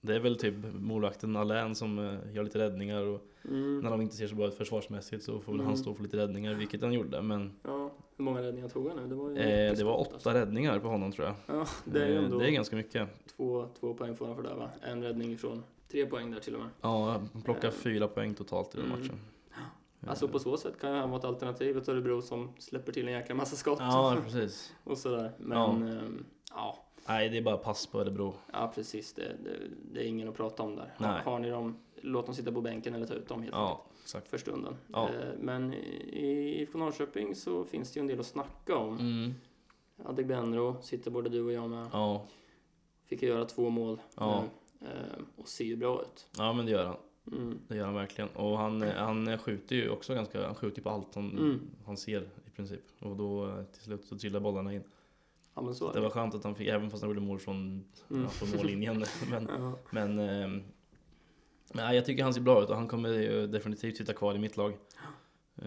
A: Det är väl typ målvakten Alain som eh, gör lite räddningar och
B: Mm.
A: när de inte ser så bra ut försvarsmässigt så får väl han
B: Mm.
A: stå för lite räddningar, vilket han gjorde. Men
B: Ja, hur många räddningar tog han nu? Det var, ju
A: eh, det var
B: jätteskott, alltså.
A: åtta räddningar på honom tror jag.
B: Ja, det är ju
A: Eh,
B: ändå
A: det är ganska mycket.
B: två, två poäng får han för det va? En räddning ifrån. Tre poäng där till och med.
A: Ja, plocka
B: Eh.
A: fyra poäng totalt i den
B: Mm.
A: matchen. Eh,
B: Alltså på så sätt kan ju han vara ett alternativ ett Örebro som släpper till en jäkla massa skott
A: Ja, precis.
B: och sådär. Men
A: Ja.
B: ehm, ja,
A: Nej, det är bara pass på Örebro.
B: ja precis. Det, det, det är ingen att prata om där. Har,
A: Nej.
B: har ni dem, låt dem sitta på bänken eller ta ut dem helt
A: Ja, exakt.
B: enkelt för stunden.
A: Ja.
B: Eh, Men i IFK Norrköping så finns det ju en del att snacka om.
A: Mm.
B: Adegbenro sitter både du och jag med.
A: Ja.
B: Fick ju göra två mål
A: Ja.
B: nu, eh, och ser ju bra ut.
A: ja, men det gör han.
B: Mm.
A: Det gör han verkligen. Och han, han skjuter ju också ganska, han skjuter på allt han,
B: Mm.
A: han ser i princip. Och då eh, till slut så trillar bollarna in.
B: Ja men så är
A: Det var skönt att han fick, även fast han gjorde mål från,
B: Mm.
A: ja, från mållinjen. men,
B: Ja.
A: men, eh, men nej, jag tycker han ser bra ut och han kommer ju definitivt sitta kvar i mitt lag. Eh,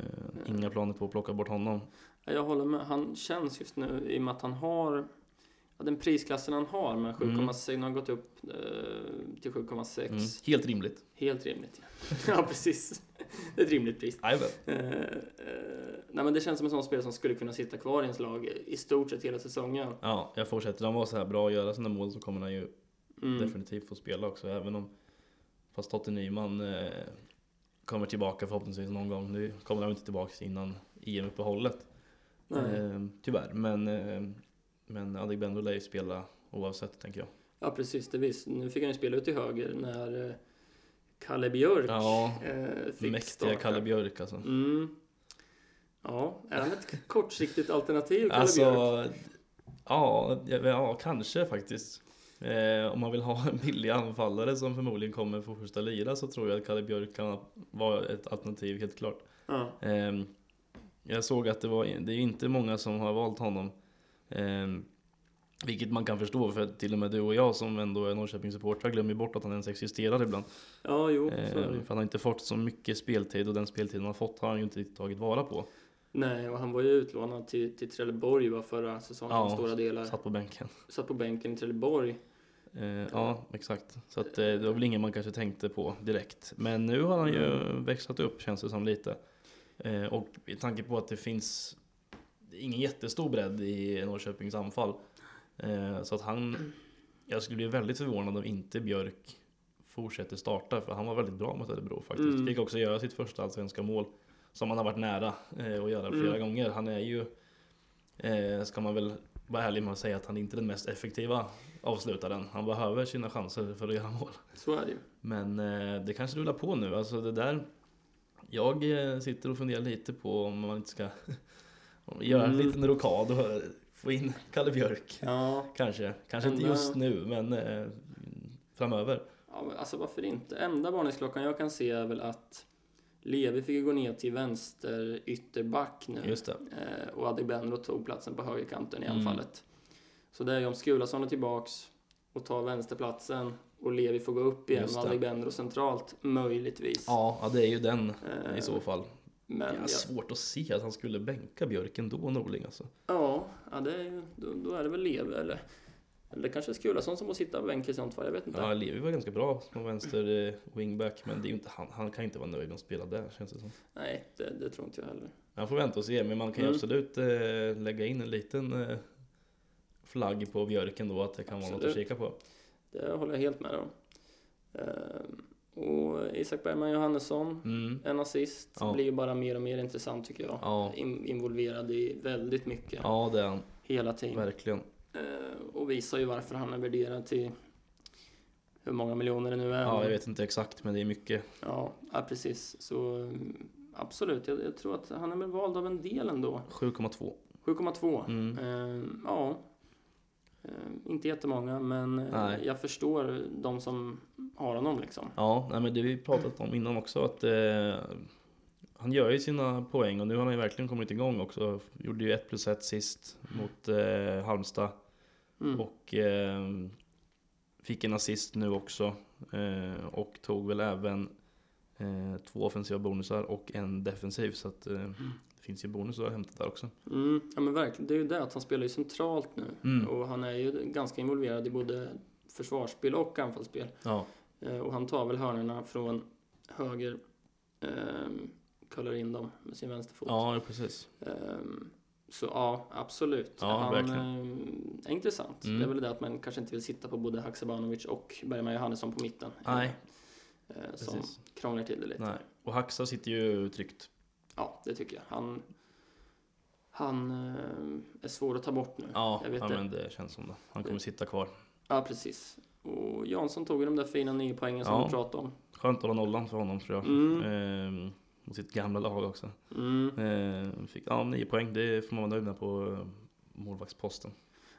A: Inga planer på att plocka bort honom.
B: Ja, Jag håller med. Han känns just nu i och med att han har ja, den prisklassen han har med 7,6. Nu har han gått upp eh, till 7,6.
A: Mm. Helt rimligt.
B: Helt rimligt. ja. ja, precis. Det är ett rimligt pris.
A: Jajamän.
B: Eh, eh, nej, men det känns som en sån spelare som skulle kunna sitta kvar i ens lag i stort sett hela säsongen.
A: Ja, jag fortsätter. Han var så här bra att göra sina mål så kommer han ju
B: Mm.
A: definitivt få spela också. Även om Fast Totte Nyman eh, kommer tillbaka förhoppningsvis någon gång. Nu kommer han inte tillbaka innan EM-uppehållet.
B: Nej.
A: Eh, tyvärr, men, eh, men Adegbenro lär ju spela oavsett tänker jag.
B: Ja, precis. Det visst. Nu fick han ju spela ut till höger när eh, Kalle Björk
A: Ja,
B: eh, fick
A: Mäktiga
B: starta.
A: Kalle Björk alltså.
B: Mm. Ja, är han ett kortsiktigt alternativ, Kalle
A: Alltså,
B: Björk?
A: ja, ja, ja, kanske faktiskt. Eh, om man vill ha en billig anfallare som förmodligen kommer få första lira så tror jag att Kalle Björk kan vara ett alternativ helt klart.
B: Ja.
A: Ehm, jag såg att det var, det är inte många som har valt honom. Ehm, vilket man kan förstå för att till och med du och jag som ändå är Norrköpingssupportrar glömmer bort att han ens existerar ibland.
B: ja, jo, så är
A: Ehm,
B: det.
A: för han har inte fått så mycket speltid och den speltid han har fått har han ju inte riktigt tagit vara på.
B: Nej, och han var ju utlånad till, till Trelleborg va, förra säsongen,
A: Ja,
B: stora delar. Satt.
A: Satt på bänken.
B: på bänken i Trelleborg.
A: Ehm, ja, exakt. Så att, eh, det var väl ingen man kanske tänkte på direkt. Men nu har han ju växlat upp känns det som lite. Ehm, och i tanke på att det finns ingen jättestor bredd i Norrköpings anfall. Eh, Så att han, jag skulle bli väldigt förvånad om inte Björk fortsätter starta för han var väldigt bra mot Örebro faktiskt.
B: Mm.
A: Fick också göra sitt första allsvenska mål som han har varit nära eh, att göra flera
B: Mm.
A: gånger. Han är ju, eh, ska man väl vara ärlig med att säga att han inte är den mest effektiva avslutaren. Han behöver sina chanser för att göra mål.
B: Så är det ju.
A: Men eh, det kanske rullar på nu. Alltså det där, jag eh, sitter och funderar lite på om man inte ska om vi göra en
B: Mm.
A: liten rokad och eh, få in Kalle Björk.
B: Ja.
A: Kanske, kanske inte
B: Ända-
A: just nu men eh, framöver.
B: ja men alltså varför inte? Enda varningsklockan jag kan se är väl att Levi fick ju gå ner till vänster ytterback nu.
A: Just det.
B: Eh, och Adegbenro tog platsen på högerkanten i
A: Mm.
B: anfallet. Så där är ju om Skulason är tillbaks och tar vänsterplatsen och Levi får gå upp igen
A: Just
B: och
A: det.
B: Adegbenro centralt, möjligtvis.
A: Ja, ja, det är ju den
B: Eh,
A: i så fall. Jag
B: Men
A: har
B: ja,
A: svårt att se att han skulle bänka Björk ändå, Norling alltså.
B: ja, ja det är, ju- då, då är det väl Levi eller eller kanske Skulason som får sitta på bänk i sånt fall, jag vet inte.
A: Ja, Levi var ganska bra som vänster eh, wingback men det är ju inte han, han kan inte vara nöjd med att spela där känns det som.
B: Nej, det, det tror inte jag heller.
A: Man får vänta och se, men man kan ju
B: Mm.
A: absolut eh, lägga in en liten eh, flagg på björken då, att det kan vara något att
B: Absolut.
A: kika på.
B: Det håller jag helt med om. Ehm, och Isak Bergman Johannesson,
A: Mm.
B: en assist,
A: Ja.
B: blir ju bara mer och mer intressant tycker jag.
A: Ja.
B: In, involverad i väldigt mycket,
A: ja, det är han.
B: hela tiden.
A: Verkligen.
B: Eh, och visar ju varför han är värderad till hur många miljoner det nu är.
A: Ja, jag vet inte exakt, men det är mycket.
B: Ja, ja, precis. Så mm, absolut, jag, jag tror att han är väl vald av en del ändå.
A: 7,2.
B: 7,2.
A: Mm.
B: Eh, ja. Eh, inte jättemånga, men eh,
A: Nej.
B: jag förstår de som har honom liksom.
A: Ja, nej, men det vi pratat om innan också, att eh, han gör ju sina poäng och nu har han ju verkligen kommit igång också. Gjorde ju 1 plus 1 sist mot eh, Halmstad.
B: Mm.
A: Och ehm, fick en assist nu också. Eh, och tog väl även eh, två offensiva bonusar och en defensiv. Så att, eh, det finns ju bonusar att hämta där också.
B: Mm, ja men verkligen, det är ju det att han spelar ju centralt nu.
A: Mm.
B: Och han är ju ganska involverad i både försvarsspel och anfallsspel.
A: Ja,
B: Eh, och han tar väl hörnorna från höger, ehm, kollar in dem med sin vänsterfot.
A: ja precis.
B: Ehm, så ja, absolut.
A: Ja,
B: han
A: verkligen.
B: ehm, är intressant.
A: Mm.
B: Det är väl det att man kanske inte vill sitta på både Haksabanovic och Bergman Johannesson på mitten.
A: Nej,
B: Eh, som
A: precis.
B: krånglar till det lite.
A: Nej. Och Haxa sitter ju tryggt.
B: Ja, det tycker jag. Han, han eh, är svår att ta bort nu.
A: Ja,
B: jag vet
A: ja
B: det.
A: men det känns som det. Han kommer sitta kvar.
B: Ja, precis. Och Jansson tog ju de där fina nio poängen som
A: Ja.
B: du pratade om.
A: Skönt att hålla nollan för honom tror jag.
B: Mm.
A: Ehm, och sitt gamla lag också.
B: Mm,
A: Ehm, fick ja, nio poäng, det får man vara nöjd med på eh, målvaktsposten.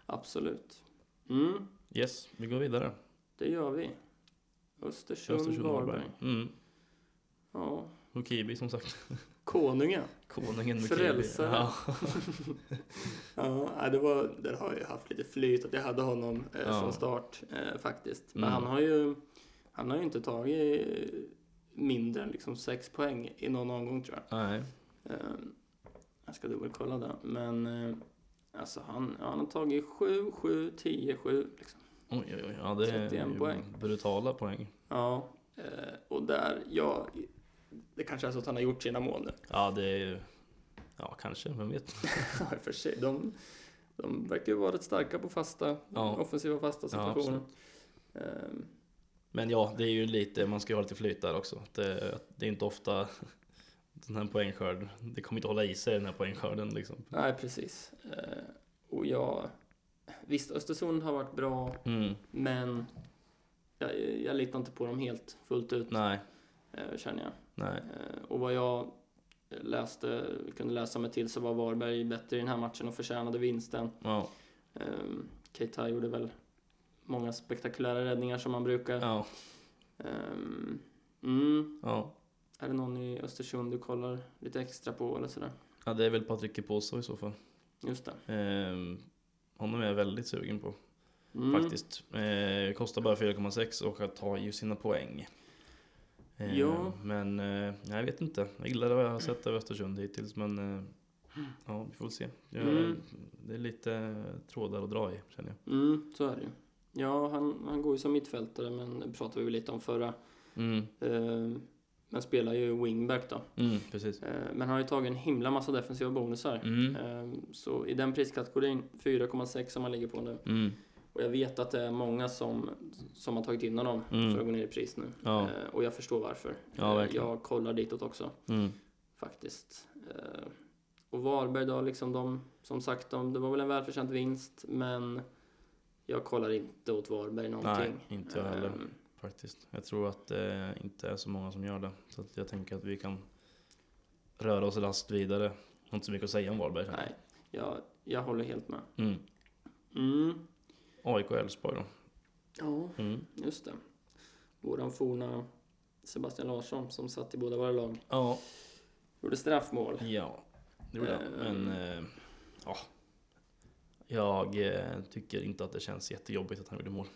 B: absolut. Mm,
A: Yes, vi går vidare.
B: det gör vi. Östersund,
A: Östersund
B: Varberg.
A: Varberg. Mm.
B: Ja.
A: Och Kibi som sagt.
B: Konungen.
A: Konungen med
B: Frälsare.
A: Kiwi. Ja.
B: Ja, nej, det var, där har jag haft lite flyt att jag hade honom eh,
A: Ja.
B: från start eh, faktiskt. Men
A: Mm.
B: han har ju han har ju inte tagit eh, mindre än liksom sex poäng i någon omgång tror jag.
A: Nej.
B: Eh, jag ska dubbelkolla det. Men eh, alltså han, ja, han har tagit 7, 7, 10, 7 liksom.
A: Oj, oj, oj. Ja, det är
B: 31
A: ju
B: poäng.
A: brutala poäng.
B: Ja, eh, och där, ja, det kanske är så att han har gjort sina mål nu.
A: Ja, det är ju... Ja, kanske. Vem vet?
B: Ja, i och för sig, de, de verkar ju vara rätt starka på fasta,
A: Ja.
B: offensiva fasta
A: Ja,
B: situationer. Ehm,
A: Men ja, det är ju lite, man ska ju ha lite flyt där också. Det, det är inte ofta den här poängskörden, det kommer inte hålla i sig den här poängskörden liksom.
B: Nej, precis. Eh, och jag... Visst, Östersund har varit bra,
A: Mm,
B: men jag, jag litar inte på dem helt fullt ut,
A: nej,
B: eh, känner jag.
A: nej.
B: Eh, Och vad jag läste, kunde läsa mig till så var Varberg bättre i den här matchen och förtjänade vinsten.
A: Ja,
B: Ehm, Keita gjorde väl många spektakulära räddningar som man brukar.
A: ja,
B: Ehm, mm.
A: ja.
B: Är det någon i Östersund du kollar lite extra på eller sådär?
A: ja det är väl Patrik Kiposo i så fall.
B: Just det.
A: Ehm, honom är jag väldigt sugen på
B: Mm.
A: faktiskt. Eh, kostar bara 4,6 och att ta ju sina poäng. Eh,
B: Ja.
A: Men eh, jag vet inte. Jag gillar vad jag har sett av Östersund hittills men eh, ja, vi får väl se. Jag,
B: Mm.
A: Det är lite trådar att dra i känner jag.
B: Mm, så är det ju. Ja, han, han går ju som mittfältare, men det pratade vi ju lite om förra.
A: Mm,
B: Ehm, men spelar ju wingback då.
A: mm, precis.
B: Ehm, men han har ju tagit en himla massa defensiva bonusar.
A: Mm,
B: Ehm, så i den priskategorin, 4,6 som han ligger på nu.
A: mm,
B: Och jag vet att det är många som, som har tagit in honom
A: Mm.
B: för att gå ner i pris nu.
A: Ja.
B: Ehm, och jag förstår varför.
A: Ja,
B: Ehm,
A: verkligen.
B: jag kollar ditåt också,
A: mm.
B: faktiskt. Ehm, och Varberg då, liksom de, som sagt, de, det var väl en välförtjänt vinst, men jag kollar inte åt Varberg någonting.
A: Nej, inte jag heller.
B: Ehm,
A: faktiskt. Jag tror att det inte är så många som gör det. Så att jag tänker att vi kan röra oss raskt vidare. Har inte så mycket att säga om Varberg. känner jag.
B: Nej, jag, jag håller helt med.
A: Mm.
B: Mm.
A: AIK och Elfsborg då.
B: Ja,
A: Mm.
B: just det. Våran forna Sebastian Larsson som satt i båda våra lag
A: Ja,
B: gjorde straffmål.
A: ja. Det gjorde jag.
B: Ehm.
A: Men eh, ja. Jag eh, tycker inte att det känns jättejobbigt att han gjorde mål.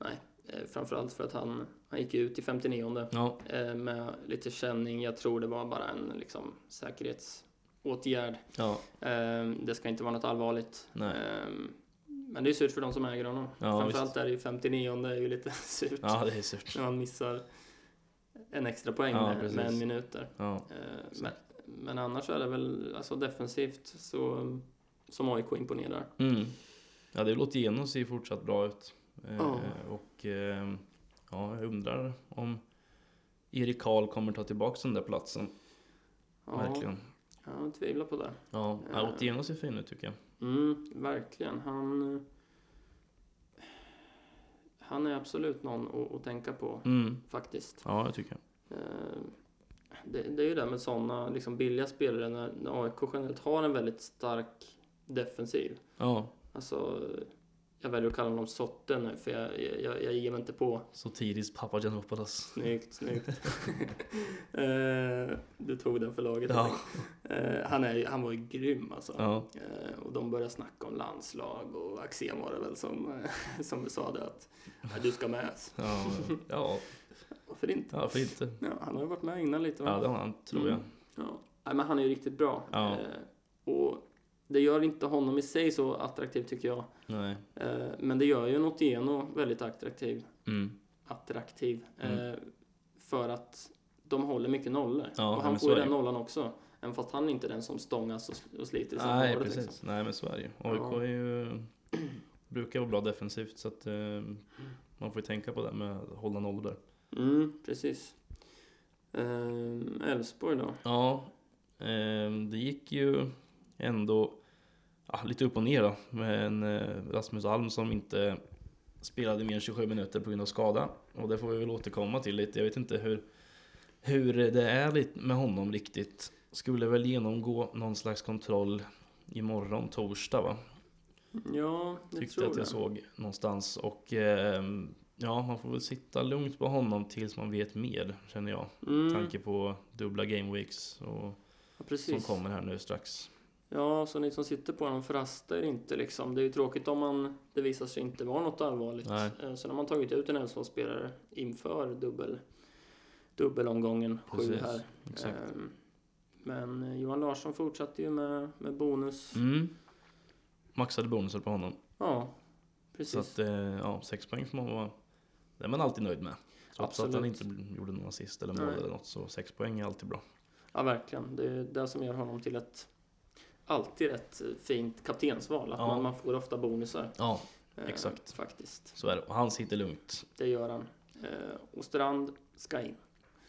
B: Eh, framförallt för att han, han gick ut i 59
A: Ja,
B: eh, med lite känning. Jag tror det var bara en liksom, säkerhetsåtgärd.
A: ja,
B: Eh, det ska inte vara något allvarligt.
A: Nej.
B: Eh, men det är surt för de som äger honom.
A: Ja,
B: framförallt är det ju 59 är ju lite surt
A: ja det är surt.
B: när man missar en extra poäng
A: Ja,
B: med,
A: precis.
B: med en minut där.
A: Ja,
B: Eh,
A: Så.
B: Men, men annars är det väl alltså defensivt så, um, som AIK imponerar.
A: mm. ja det låter igenom ser fortsatt bra ut. Eh,
B: Ja.
A: Och eh, ja, jag undrar om Erik Karl kommer ta tillbaka den där platsen.
B: Ja,
A: Verkligen.
B: Jag tvivlar på det.
A: Ja,
B: Eh.
A: Autieno ser fin ut tycker jag.
B: Mm, verkligen. Han, eh, han är absolut någon att, att tänka på,
A: Mm.
B: faktiskt.
A: Ja, jag tycker jag.
B: Eh, Det, det är ju det med sådana liksom billiga spelare när, när AIK generellt har en väldigt stark defensiv.
A: Ja,
B: Alltså, eh, jag väljer att kalla honom Sotte nu för jag, jag, jag, jag ger mig inte på
A: så tidigt Papagiannopoulos.
B: Snyggt, snyggt. Eh, du tog den för laget.
A: Ja,
B: Eh, han, är, ju- han var ju grym alltså.
A: ja,
B: Eh, och de började snacka om landslag och Axén var det väl som, eh, som sa det att "Ja, du ska med. oss."
A: ja, ja,
B: Varför inte?
A: ja för inte.
B: Ja, han har ju varit med innan lite va?
A: Ja, det har han, tror jag.
B: Ja. Nej, men han är ju riktigt bra.
A: Ja.
B: Eh, och det gör inte honom i sig så attraktiv tycker jag.
A: Nej.
B: Eh, men det gör ju Notieno väldigt attraktiv.
A: Mm.
B: attraktiv.
A: Mm.
B: Eh, för att de håller mycket nollor.
A: Ja,
B: och han
A: men
B: får ju
A: så är
B: den
A: det.
B: nollan också. Även fast han är inte den som stångas och, och sliter i samma
A: Nej,
B: hålet,
A: precis.
B: liksom.
A: Nej, men så är det ju. AIK är ju, brukar vara bra defensivt så att eh, man får ju tänka på det med att hålla noll där.
B: Mm, precis. Ehm, Elfsborg då?
A: Ja, eh, det gick ju ändå ja, lite upp och ner då. Men eh, Rasmus Alm som inte spelade mer än 27 minuter på grund av skada. Och det får vi väl återkomma till lite. Jag vet inte hur, hur det är lite med honom riktigt. Skulle väl genomgå någon slags kontroll imorgon torsdag va?
B: Ja, jag
A: Tyckte
B: tror
A: att jag
B: det.
A: såg någonstans. Och eh, ja, man får väl sitta lugnt på honom tills man vet mer känner jag.
B: Mm,
A: Tanke på dubbla game weeks och
B: ja,
A: som
B: precis.
A: kommer här nu strax.
B: Ja, så ni som sitter på honom förrastar er inte liksom. Det är ju tråkigt om man, det visar sig inte vara något allvarligt.
A: Nej.
B: Eh, Sen har man tagit ut en Elfsborgsspelare inför dubbel, dubbelomgången sju
A: Precis,
B: här.
A: Exakt.
B: Ehm, Men eh, Johan Larsson fortsatte ju med, med bonus.
A: Mm. Maxade bonusen på honom.
B: Ja,
A: Så
B: precis.
A: att, eh, ja, sex poäng får man vara... Det är man alltid nöjd med. Trots att han
B: Absolut.
A: inte gjorde någon assist eller mål
B: Nej.
A: eller något så sex poäng är alltid bra.
B: Ja, verkligen. Det är det som gör honom till ett alltid ett fint kaptensval. Att
A: Ja.
B: man, man får ofta bonusar.
A: Ja,
B: eh,
A: Exakt.
B: Faktiskt.
A: så är det. Och han sitter lugnt.
B: Det gör han. Eh, och Strand ska in.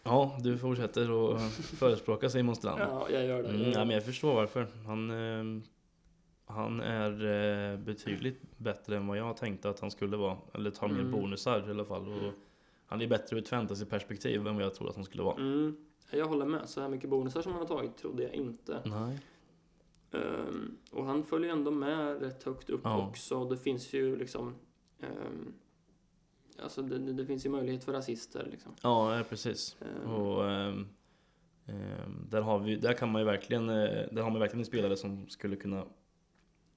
A: Ja, du fortsätter att förespråka Simon Strand.
B: Ja, jag gör det.
A: Mm, ja, men jag förstår varför. Han, eh, han är eh, betydligt bättre än vad jag tänkte att han skulle vara. Eller tar mer
B: Mm.
A: bonusar i alla fall. Och han är bättre ur ett fantasyperspektiv än vad jag trodde att han skulle vara.
B: Mm, jag håller med. Så här mycket bonusar som han har tagit trodde jag inte.
A: Nej.
B: Ehm, och han följer ändå med rätt högt upp
A: Ja.
B: också. Och det finns ju liksom... ehm, alltså det, det, det finns ju möjlighet för rasister liksom.
A: Ja, eh, precis.
B: Ehm,
A: Och, ehm, ehm, där, har vi, där kan man ju verkligen, eh, där har man verkligen en spelare som skulle kunna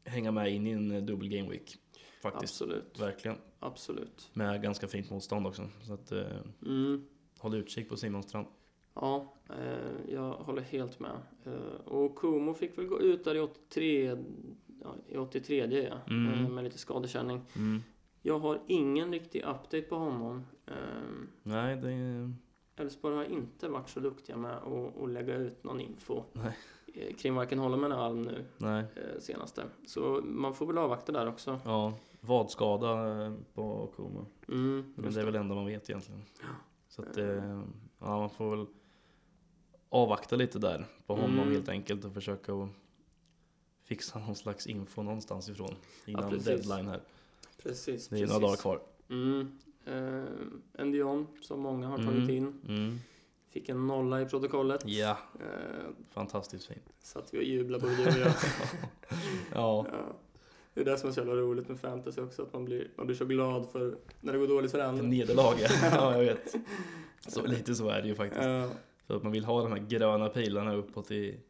A: hänga med in i en eh, dubbel game week. Faktiskt.
B: Absolut.
A: Verkligen.
B: Absolut.
A: Med ganska fint motstånd också. Så att, eh,
B: Mm.
A: håll utkik på Simon Strand.
B: Ja, eh, jag håller helt med. Eh, och Kumo fick väl gå ut där i 83, ja, i 83 ja,
A: Mm.
B: eh, med lite skadekänning.
A: Mm.
B: Jag har ingen riktig update på honom. Ehm,
A: Nej, det är...
B: Elfsborg har inte varit så duktiga med att, att lägga ut någon info
A: Nej.
B: eh, kring varken Holm eller Alm nu
A: Nej.
B: eh, senaste. Så man får väl avvakta där också.
A: Ja, vadskada eh, på Kumo.
B: Mm,
A: Men
B: just
A: det är
B: det.
A: väl det enda man vet egentligen. Så att,
B: Mm.
A: eh, ja, man får väl avvakta lite där på honom
B: Mm.
A: helt enkelt och försöka att fixa någon slags info någonstans ifrån innan
B: precis.
A: deadline här.
B: Precis.
A: Det är några dagar kvar.
B: Mm. Eh, en Dion som många har
A: Mm.
B: tagit in.
A: Mm.
B: Fick en nolla i protokollet.
A: Ja,
B: Eh,
A: fantastiskt fint.
B: satt vi och jublade både du och jag.
A: Ja,
B: Ja. Det är det som är så jävla roligt med fantasy också, att man blir, man blir så glad för när det går dåligt för
A: ett
B: andra.
A: nederlag ja. ja, jag vet. Så lite så är det ju faktiskt.
B: Ja,
A: För att man vill ha de här gröna pilarna uppåt i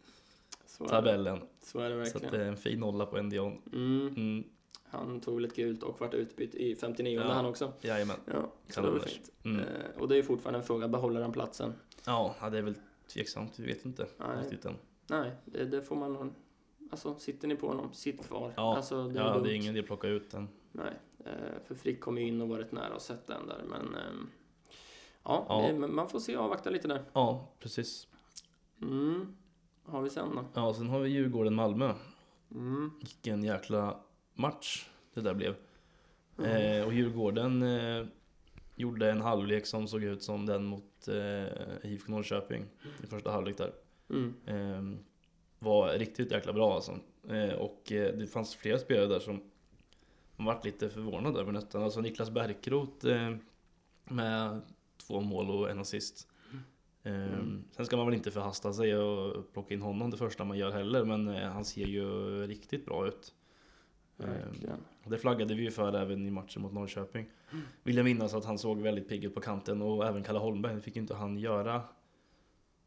B: så är det.
A: tabellen.
B: Så är det
A: Så att
B: verkligen.
A: det är en fin nolla på Endion.
B: Mm.
A: Mm,
B: Han tog väl ett gult och vart utbytt i 59
A: Ja.
B: han också.
A: jajamän.
B: Ja, så
A: Kan
B: det var
A: annars.
B: fint.
A: Mm.
B: Eh, och det är ju fortfarande en fråga, behåller han platsen?
A: Ja, ja, det är väl tveksamt. Vi vet inte
B: Nej.
A: riktigt än.
B: Nej, det, det får man nog... Alltså, sitter ni på honom, sitt kvar.
A: Ja,
B: alltså, det, är
A: Ja,
B: dumt.
A: det är ingen idé att plocka ut den.
B: Nej, eh, för Frick kom ju in och varit nära och sett den där, men... ehm, ja,
A: Ja.
B: eh, men man får se och avvakta lite där.
A: Ja, precis.
B: Mm. Vad har vi sen då?
A: Ja, sen har vi Djurgården-Malmö. Ehm.
B: Mm.
A: Vilken jäkla match det där blev.
B: Mm.
A: Eh, och Djurgården eh, gjorde en halvlek som såg ut som den mot eh, IFK Norrköping i första halvlek där.
B: Mm.
A: Eh, var riktigt jäkla bra alltså. Eh, och eh, det fanns flera spelare där som man vart lite förvånad över nästan. Alltså Niklas Bärkroth eh, med två mål och en assist. Eh,
B: Mm.
A: Sen ska man väl inte förhasta sig och plocka in honom det första man gör heller, men eh, han ser ju riktigt bra ut. Ehm,
B: Verkligen.
A: Och Det flaggade vi ju för även i matchen mot Norrköping. Vill jag minnas att han såg väldigt pigg ut på kanten och även Kalle Holmberg. Nu fick ju inte han göra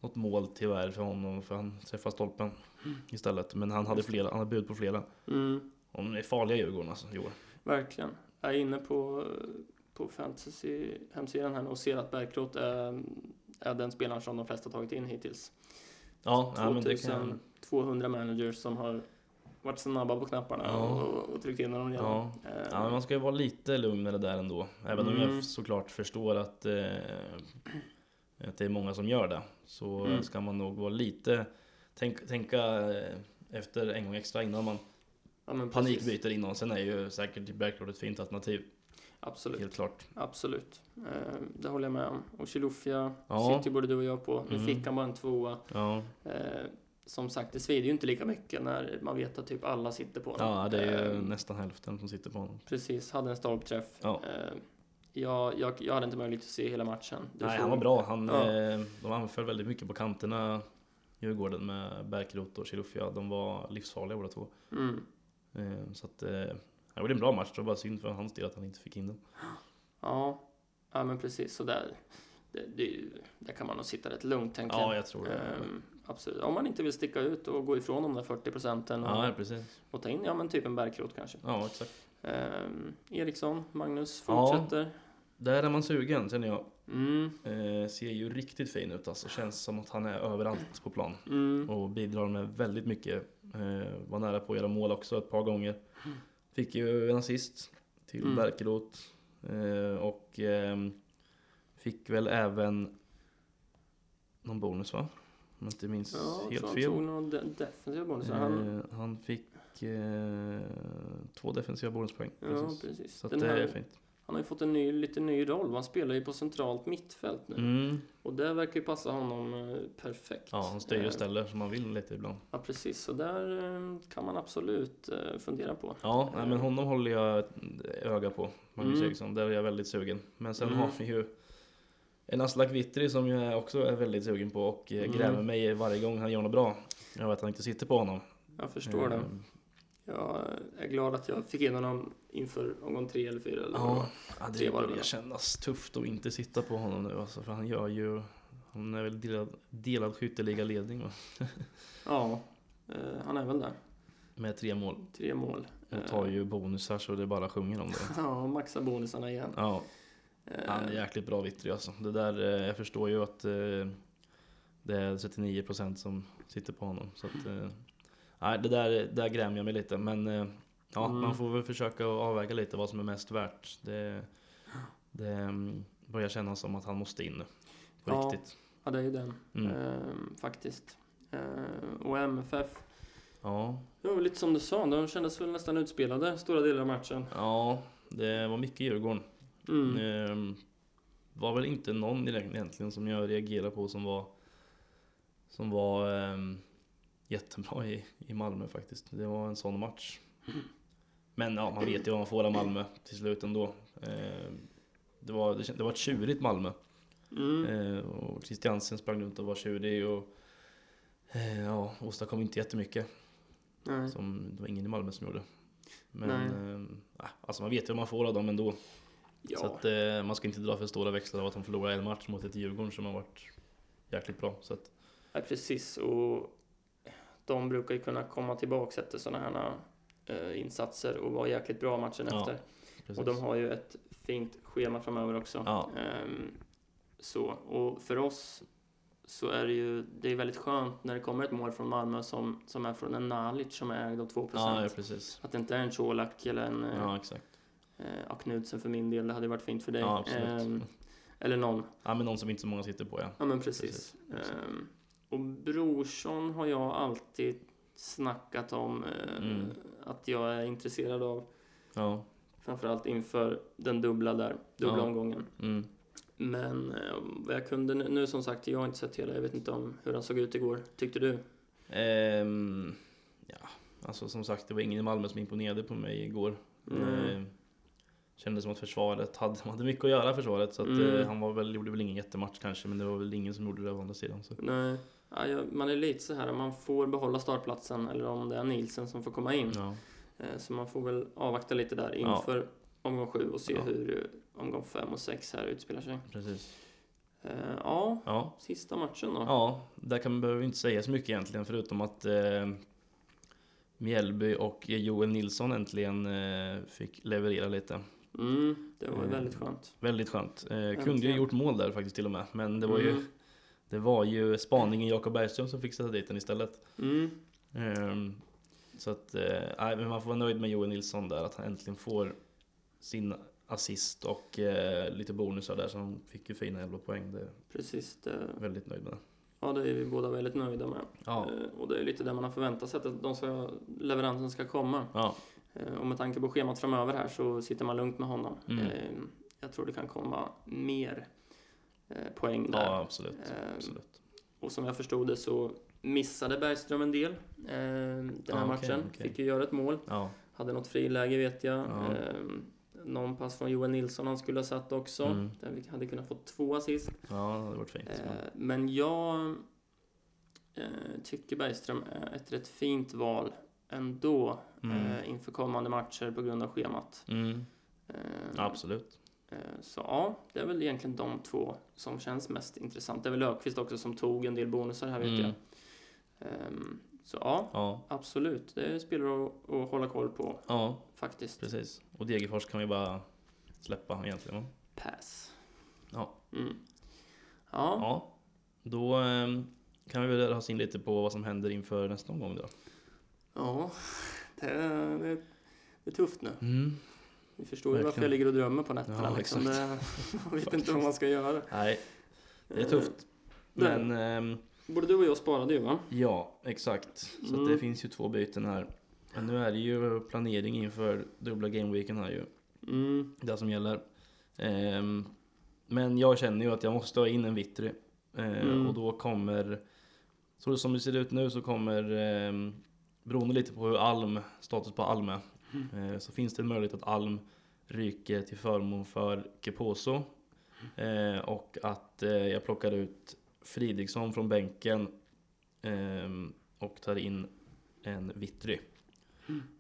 A: något mål tyvärr för honom för han träffade stolpen istället. Men han hade
B: Just det.
A: flera, han hade bud på flera.
B: Mm.
A: Och De är farliga Djurgården alltså i år.
B: Verkligen. Jag är inne på, på fantasy-hemsidan här nu och ser att Bärkroth är, är den spelaren som de flesta tagit in hittills.
A: Ja, ja men det kan
B: 2200 managers som har varit snabba på knapparna
A: Ja.
B: och, och tryckt in dem igen.
A: Ja.
B: Eh,
A: Ja, men man ska ju vara lite lugnare där ändå. Även om
B: Mm.
A: jag såklart förstår att, eh, att det är många som gör det. Så
B: Mm.
A: ska man nog vara lite... Tänk, tänka eh, efter en gång extra innan man
B: ja, men precis.
A: Panikbyter innan, sen är ju säkert Backlord ett fint alternativ,
B: Absolut,
A: helt klart.
B: absolut. Eh, det håller jag med om. Och Chilufya
A: Ja.
B: sitter ju både du och jag på. Nu
A: Mm.
B: fick han bara en tvåa.
A: Ja,
B: Eh, som sagt, det svider ju inte lika mycket när man vet att typ alla sitter på
A: ja det är ju
B: Eh,
A: nästan hälften som sitter på honom.
B: Precis, hade en stolpträff.
A: Ja.
B: Eh, jag, jag, jag hade inte möjlighet att se hela matchen. Du
A: Nej,
B: får-
A: han var bra. Han,
B: Ja.
A: eh, de anföll väldigt mycket på kanterna, Djurgården med Bärkroth och Chilufya. De var livsfarliga båda två.
B: Mm.
A: Eh, så att, eh, det var en bra match, det var bara synd för hans del att han inte fick in den.
B: Ja. ja, men precis. Så där, det, det, är ju- där kan man nog sitta rätt lugnt, tänker
A: Ja, jag tror det.
B: Ehm, absolut. Om man inte vill sticka ut och gå ifrån de där 40 procenten och,
A: Ja, precis.
B: och ta in ja, men typ en Bärkroth kanske.
A: Ja, exakt.
B: Ehm, Eriksson, Magnus
A: Ja.
B: fortsätter.
A: Där är man sugen, känner jag.
B: Mm,
A: Eh, ser ju riktigt fin ut alltså. Känns som att han är överallt på plan.
B: mm,
A: och bidrar med väldigt mycket. Eh, var nära på att göra mål också ett par gånger. Fick ju en assist till
B: Mm.
A: Bärkeroth. Eh, och ehm, fick väl även någon bonus va? Om jag inte minns
B: ja, jag tror
A: helt
B: han tog
A: fel.
B: någon de- defensiv bonus. Han,
A: Eh, han fick eh, två defensiva bonuspoäng.
B: ja,
A: precis.
B: precis.
A: Så att
B: Den
A: det är
B: här,
A: fint.
B: han har ju fått en ny, lite ny roll. Han spelar ju på centralt mittfält nu.
A: Mm.
B: Och det verkar ju passa honom eh, perfekt.
A: Ja, han styr
B: Eh,
A: och ställer som man vill lite ibland.
B: Ja, precis. Så där eh, kan man absolut eh, fundera på.
A: Ja, nej, men honom håller jag ett öga på, Magnus
B: Mm.
A: Eriksson. Där är jag väldigt sugen. Men sen
B: Mm.
A: har vi ju en Aslak Vittry som jag också är väldigt sugen på och eh,
B: Mm.
A: grämer mig varje gång han gör något bra. Jag vet att han inte sitter på honom.
B: Jag förstår det.
A: Eh,
B: Jag eh, är glad att jag fick in honom inför omgång tre eller fyra. Eller vad
A: Ja,
B: det var.
A: ja,
B: Tre
A: det
B: var det
A: börjar
B: väl.
A: kännas tufft att inte sitta på honom nu alltså, för han gör ju... Han är väl delad, delad skytteligaledning va?
B: ja eh, han är väl där.
A: Med tre mål.
B: Tre mål.
A: Och
B: Eh,
A: tar ju bonusar så det bara sjunger om det.
B: Ja, maxa bonusarna igen.
A: Ja,
B: Eh,
A: han är jäkligt bra Vittry alltså. Det där, eh, jag förstår ju att eh, det är 39% som sitter på honom. Så att, eh, nej, det där, där grämer jag mig lite. Men eh, ja,
B: Mm.
A: man får väl försöka att avväga lite vad som är mest värt. Det, det mm, börjar kännas som att han måste in nu. På
B: Ja.
A: riktigt.
B: Ja, det är ju den.
A: Mm.
B: Eh, faktiskt. Eh, och MFF.
A: Ja,
B: Det var väl lite som du sa, de kändes väl nästan utspelade stora delar av matchen.
A: Ja, det var mycket Djurgården.
B: Mm.
A: Ehm, var väl inte någon direkt egentligen som jag reagerade på som var som var ehm, jättebra i, i Malmö faktiskt. Det var en sån match. Men ja, man vet ju vad man får av Malmö till slut ändå. Ehm, det, var, det, kän- det var ett tjurigt Malmö.
B: Mm.
A: Ehm, och Christiansen sprang runt och var tjurig och eh, ja, åstadkom inte jättemycket.
B: Nej.
A: Som, det var ingen i Malmö som gjorde. Men
B: Nej.
A: ehm, ah, alltså man vet ju vad man får av dem ändå.
B: Ja.
A: Så att, eh, man ska inte dra för stora växlar av att de förlorar en match mot ett Djurgården som har varit jäkligt bra. Så att,
B: Ja, precis. Och de brukar ju kunna komma tillbaka efter sådana här eh, insatser och vara jäkligt bra matchen
A: Ja,
B: efter.
A: precis.
B: Och de har ju ett fint schema framöver också.
A: Ja.
B: Ehm, så. Och för oss så är det ju det är väldigt skönt när det kommer ett mål från Malmö som, som är från en Nalic som är ägd av 2%.
A: ja, ja, precis.
B: Att det inte är en Colak eller en eh,
A: Ja, exakt.
B: eh, ja, Knudsen för min del, det hade ju varit fint för dig.
A: Ja, absolut.
B: Ehm, eller någon.
A: Ja, men någon som inte så många sitter på ja.
B: Ja, men precis.
A: Precis.
B: Ehm, och Brorsson har jag alltid snackat om eh,
A: Mm.
B: att jag är intresserad av.
A: Ja,
B: Framförallt inför den dubbla där, dubbla
A: Ja.
B: omgången.
A: mm.
B: Men eh, vad jag kunde, nu- nu som sagt, jag har inte sett hela, jag vet inte om hur han såg ut igår. Tyckte du?
A: Ehm, ja. Alltså som sagt, det var ingen i Malmö som imponerade på mig igår.
B: Mm.
A: Ehm, kändes som att försvaret hade, de hade mycket att göra försvaret. Så att,
B: Mm.
A: eh, han var väl, gjorde väl ingen jättematch kanske, men det var väl ingen som gjorde det å andra sidan. Så.
B: Nej. Ja, jag, man är lite så här, man får behålla startplatsen eller om det är Nielsen som får komma in.
A: Ja.
B: Eh, Så man får väl avvakta lite där
A: Ja.
B: inför omgång sju och se
A: Ja.
B: hur eh, omgång fem och sex här utspelar sig.
A: Precis.
B: Eh, Ja,
A: Ja,
B: Sista matchen då?
A: Ja, där kan man behöver vi inte säga så mycket egentligen förutom att eh, Mjällby och Joel Nilsson äntligen eh, fick leverera lite.
B: Mm, det var ju
A: Eh,
B: väldigt skönt.
A: Väldigt skönt. Eh, kunde ju
B: Äntligen.
A: gjort mål där faktiskt till och med, men det var ju,
B: Mm,
A: det var ju spaningen Jakob Bergström som fick sätta dit den istället.
B: mm,
A: Eh, så att, eh, nej, men man får vara nöjd med Joel Nilsson där, att han äntligen får sin assist och eh, lite bonusar där, så han fick ju fina 11 poäng. Det är
B: precis. Det,
A: jag väldigt nöjd med.
B: ja, det är vi båda väldigt nöjda med.
A: Ja,
B: Eh, Och det är lite där man har förväntat sig att de ska, leveransen ska komma.
A: ja,
B: Eh, Och med tanke på schemat framöver här så sitter man lugnt med honom.
A: Mm.
B: Eh, Jag tror det kan komma mer eh, poäng där.
A: ja absolut.
B: Eh,
A: absolut.
B: Och som jag förstod det så missade Bergström en del eh, den här
A: Ah, okej,
B: matchen.
A: okej.
B: Fick ju göra ett mål.
A: Ja,
B: Hade något friläge vet jag.
A: Ja.
B: Eh, någon pass från Joel Nilsson han skulle ha satt också.
A: Mm.
B: Där vi hade kunnat få två assist.
A: ja, det hade varit fint.
B: Eh, men jag eh, tycker Bergström är ett rätt fint val ändå
A: Mm.
B: eh, inför kommande matcher på grund av schemat.
A: Mm,
B: Eh,
A: absolut.
B: eh, så ja, det är väl egentligen de två som känns mest intressant. Det är väl Löfqvist också som tog en del bonusar här vet
A: Mm.
B: jag. Eh, så ja,
A: Ja,
B: absolut. Det spelar att, att hålla koll på
A: ja
B: faktiskt.
A: precis. Och Degerfors kan vi bara släppa egentligen. va?
B: Pass.
A: Ja.
B: Mm. Ja,
A: Ja, då ehm, kan vi väl röra oss in lite på vad som händer inför nästa omgång då.
B: ja. Det, är, det, är, det är tufft nu.
A: Mm.
B: Ni förstår ju varför
A: Verkligen.
B: jag ligger och drömmer på nätterna.
A: Ja,
B: liksom.
A: exakt.
B: det, jag vet inte vad man ska göra.
A: Nej, det är tufft.
B: det är
A: Men ehm,
B: Eh, Både du och jag sparade ju va?
A: ja, exakt. Så att det
B: Mm.
A: finns ju två byten här. Men nu är det ju planering inför dubbla gameweeken här ju.
B: Mm.
A: Det som gäller. Ehm, men jag känner ju att jag måste ha in en Vittry. Ehm,
B: Mm.
A: Och då kommer, så som det ser ut nu så kommer, ehm, beroende lite på hur Alm, status på Alm är, eh, så finns det en möjlighet att Alm ryker till förmån för Keposo. Eh, och att eh, jag plockar ut Fridriksson från bänken ehm, och tar in en Vittry.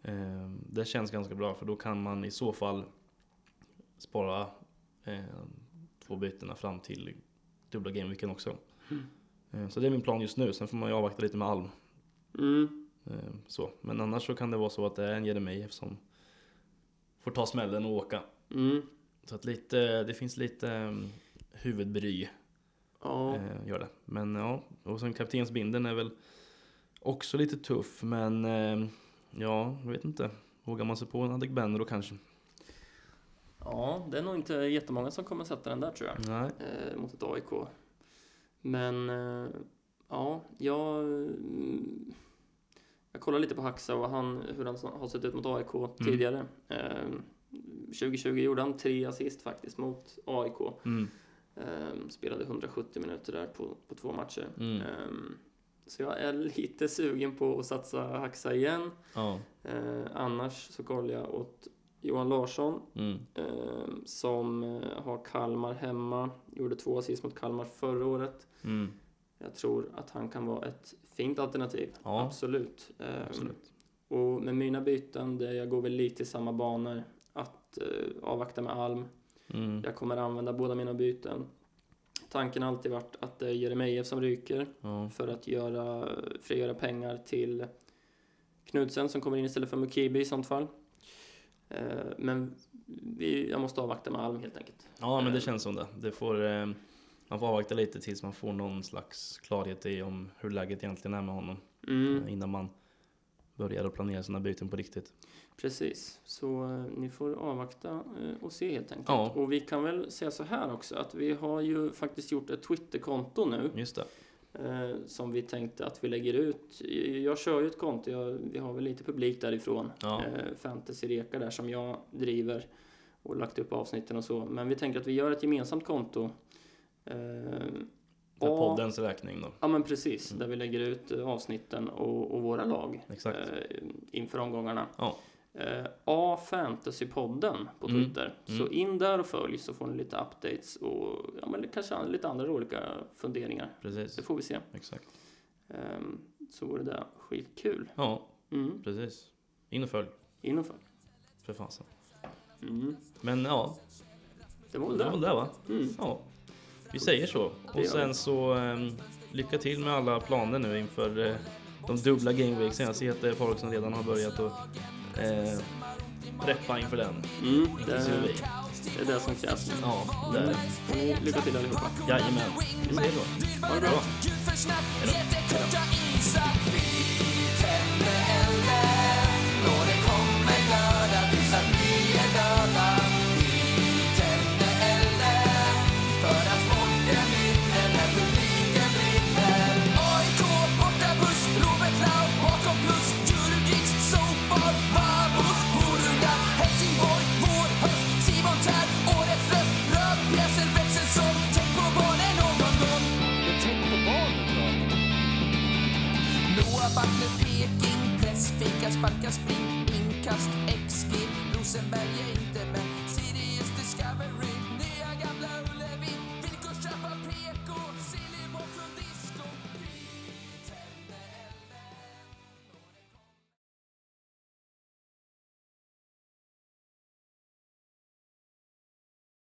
A: Ehm, det känns ganska bra för då kan man i så fall spara eh, två bytena fram till dubbla gameweeken också. Eh, så det är min plan just nu, sen får man ju avvakta lite med Alm.
B: Mm.
A: Eh, så. Men annars så kan det vara så att det är en Jeremejeff som får ta smällen och åka.
B: Mm.
A: Så att lite, det finns lite um, huvudbry
B: Ja.
A: eh, gör det. Men ja, och sen kaptensbinden är väl också lite tuff, men eh, ja, jag vet inte. Vågar man sig på en Adegbenro då kanske?
B: ja, det är nog inte jättemånga som kommer sätta den där tror jag.
A: Nej.
B: eh, mot ett AIK. Men eh, ja, jag, mm, jag kollar lite på Haxa och han, hur han har sett ut mot AIK tidigare. Eh, 2020 gjorde han tre assist faktiskt mot AIK.
A: Mm.
B: Eh, spelade 170 minuter där på, på två matcher.
A: Mm.
B: Eh, så jag är lite sugen på att satsa Haxa igen.
A: Ja.
B: Eh, annars så kollar jag åt Johan Larsson
A: Mm.
B: eh, som eh, har Kalmar hemma. Gjorde två assist mot Kalmar förra året.
A: Mm.
B: Jag tror att han kan vara ett fint alternativ.
A: Ja.
B: Absolut. Eh,
A: Absolut.
B: Och med mina byten, det, jag går väl lite i samma banor. Att eh, avvakta med Alm.
A: Mm.
B: Jag kommer använda båda mina byten. Tanken har alltid varit att det är Jeremejeff som ryker
A: Ja.
B: för att göra, frigöra pengar till Knudsen som kommer in istället för Mukibi i sånt fall. Eh, Men vi, jag måste avvakta med Alm helt enkelt.
A: ja,
B: Eh,
A: men det känns som det. det får, eh, man får avvakta lite tills man får någon slags klarhet i om hur läget egentligen är med honom
B: Mm,
A: eh, innan man börjar att planera sina byten på riktigt.
B: Precis, så eh, ni får avvakta eh, och se helt enkelt.
A: Ja.
B: Och vi kan väl säga så här också att vi har ju faktiskt gjort ett Twitterkonto nu
A: Just det.
B: eh, som vi tänkte att vi lägger ut. Jag kör ju ett konto, jag, vi har väl lite publik därifrån.
A: Ja.
B: Eh, Fantasy Reka där som jag driver och lagt upp avsnitten och så. Men vi tänker att vi gör ett gemensamt konto. Eh,
A: För
B: A-
A: poddens räkning då.
B: Ja men precis,
A: Mm.
B: där vi lägger ut eh, avsnitten och, och våra lag
A: Exakt.
B: eh, inför omgångarna.
A: Ja.
B: Eh, A Fantasypodden på
A: Mm.
B: Twitter. Så in där och följ så får ni lite updates och ja, men kanske an- lite andra olika funderingar.
A: Precis.
B: Det får vi se.
A: Exakt.
B: Ehm, så vore det skitkul.
A: Ja,
B: Mm.
A: precis. In och följ.
B: In och följ.
A: För fasen.
B: Mm.
A: Men ja,
B: Det var väl
A: det var väl
B: det.
A: det va?
B: Mm.
A: Ja, vi säger så.
B: gör
A: Och
B: vi.
A: sen så ehm, lycka till med alla planer nu inför eh, de dubbla gameweeksen. Jag ser att det är folk som redan har börjat att eh, preppa inför den.
B: Mm. Det,
A: Det ser vi.
B: det är det som krävs.
A: Ja,
B: Där.
A: det,
B: Och lycka till allihopa.
A: jajamän. Vi säger så.
B: Ha det bra.
D: Gud för snabbt, jättekorta insatt tänder elden Då det kommer glöda tills att vi är döda Vi tänder elden För att sporten vinner när publiken brinner AIK borta buss, Robert Laul bakom plus Djurgårdens sopor, Babos, Borunda Helsingborg, vår höst Simon Tern, årets röst Rödpjäser växer som Tänk på barnen någon gång Noah Backe, Peking, press, fika, sparka, spring, inkast, XG. Rosenberg är inte med.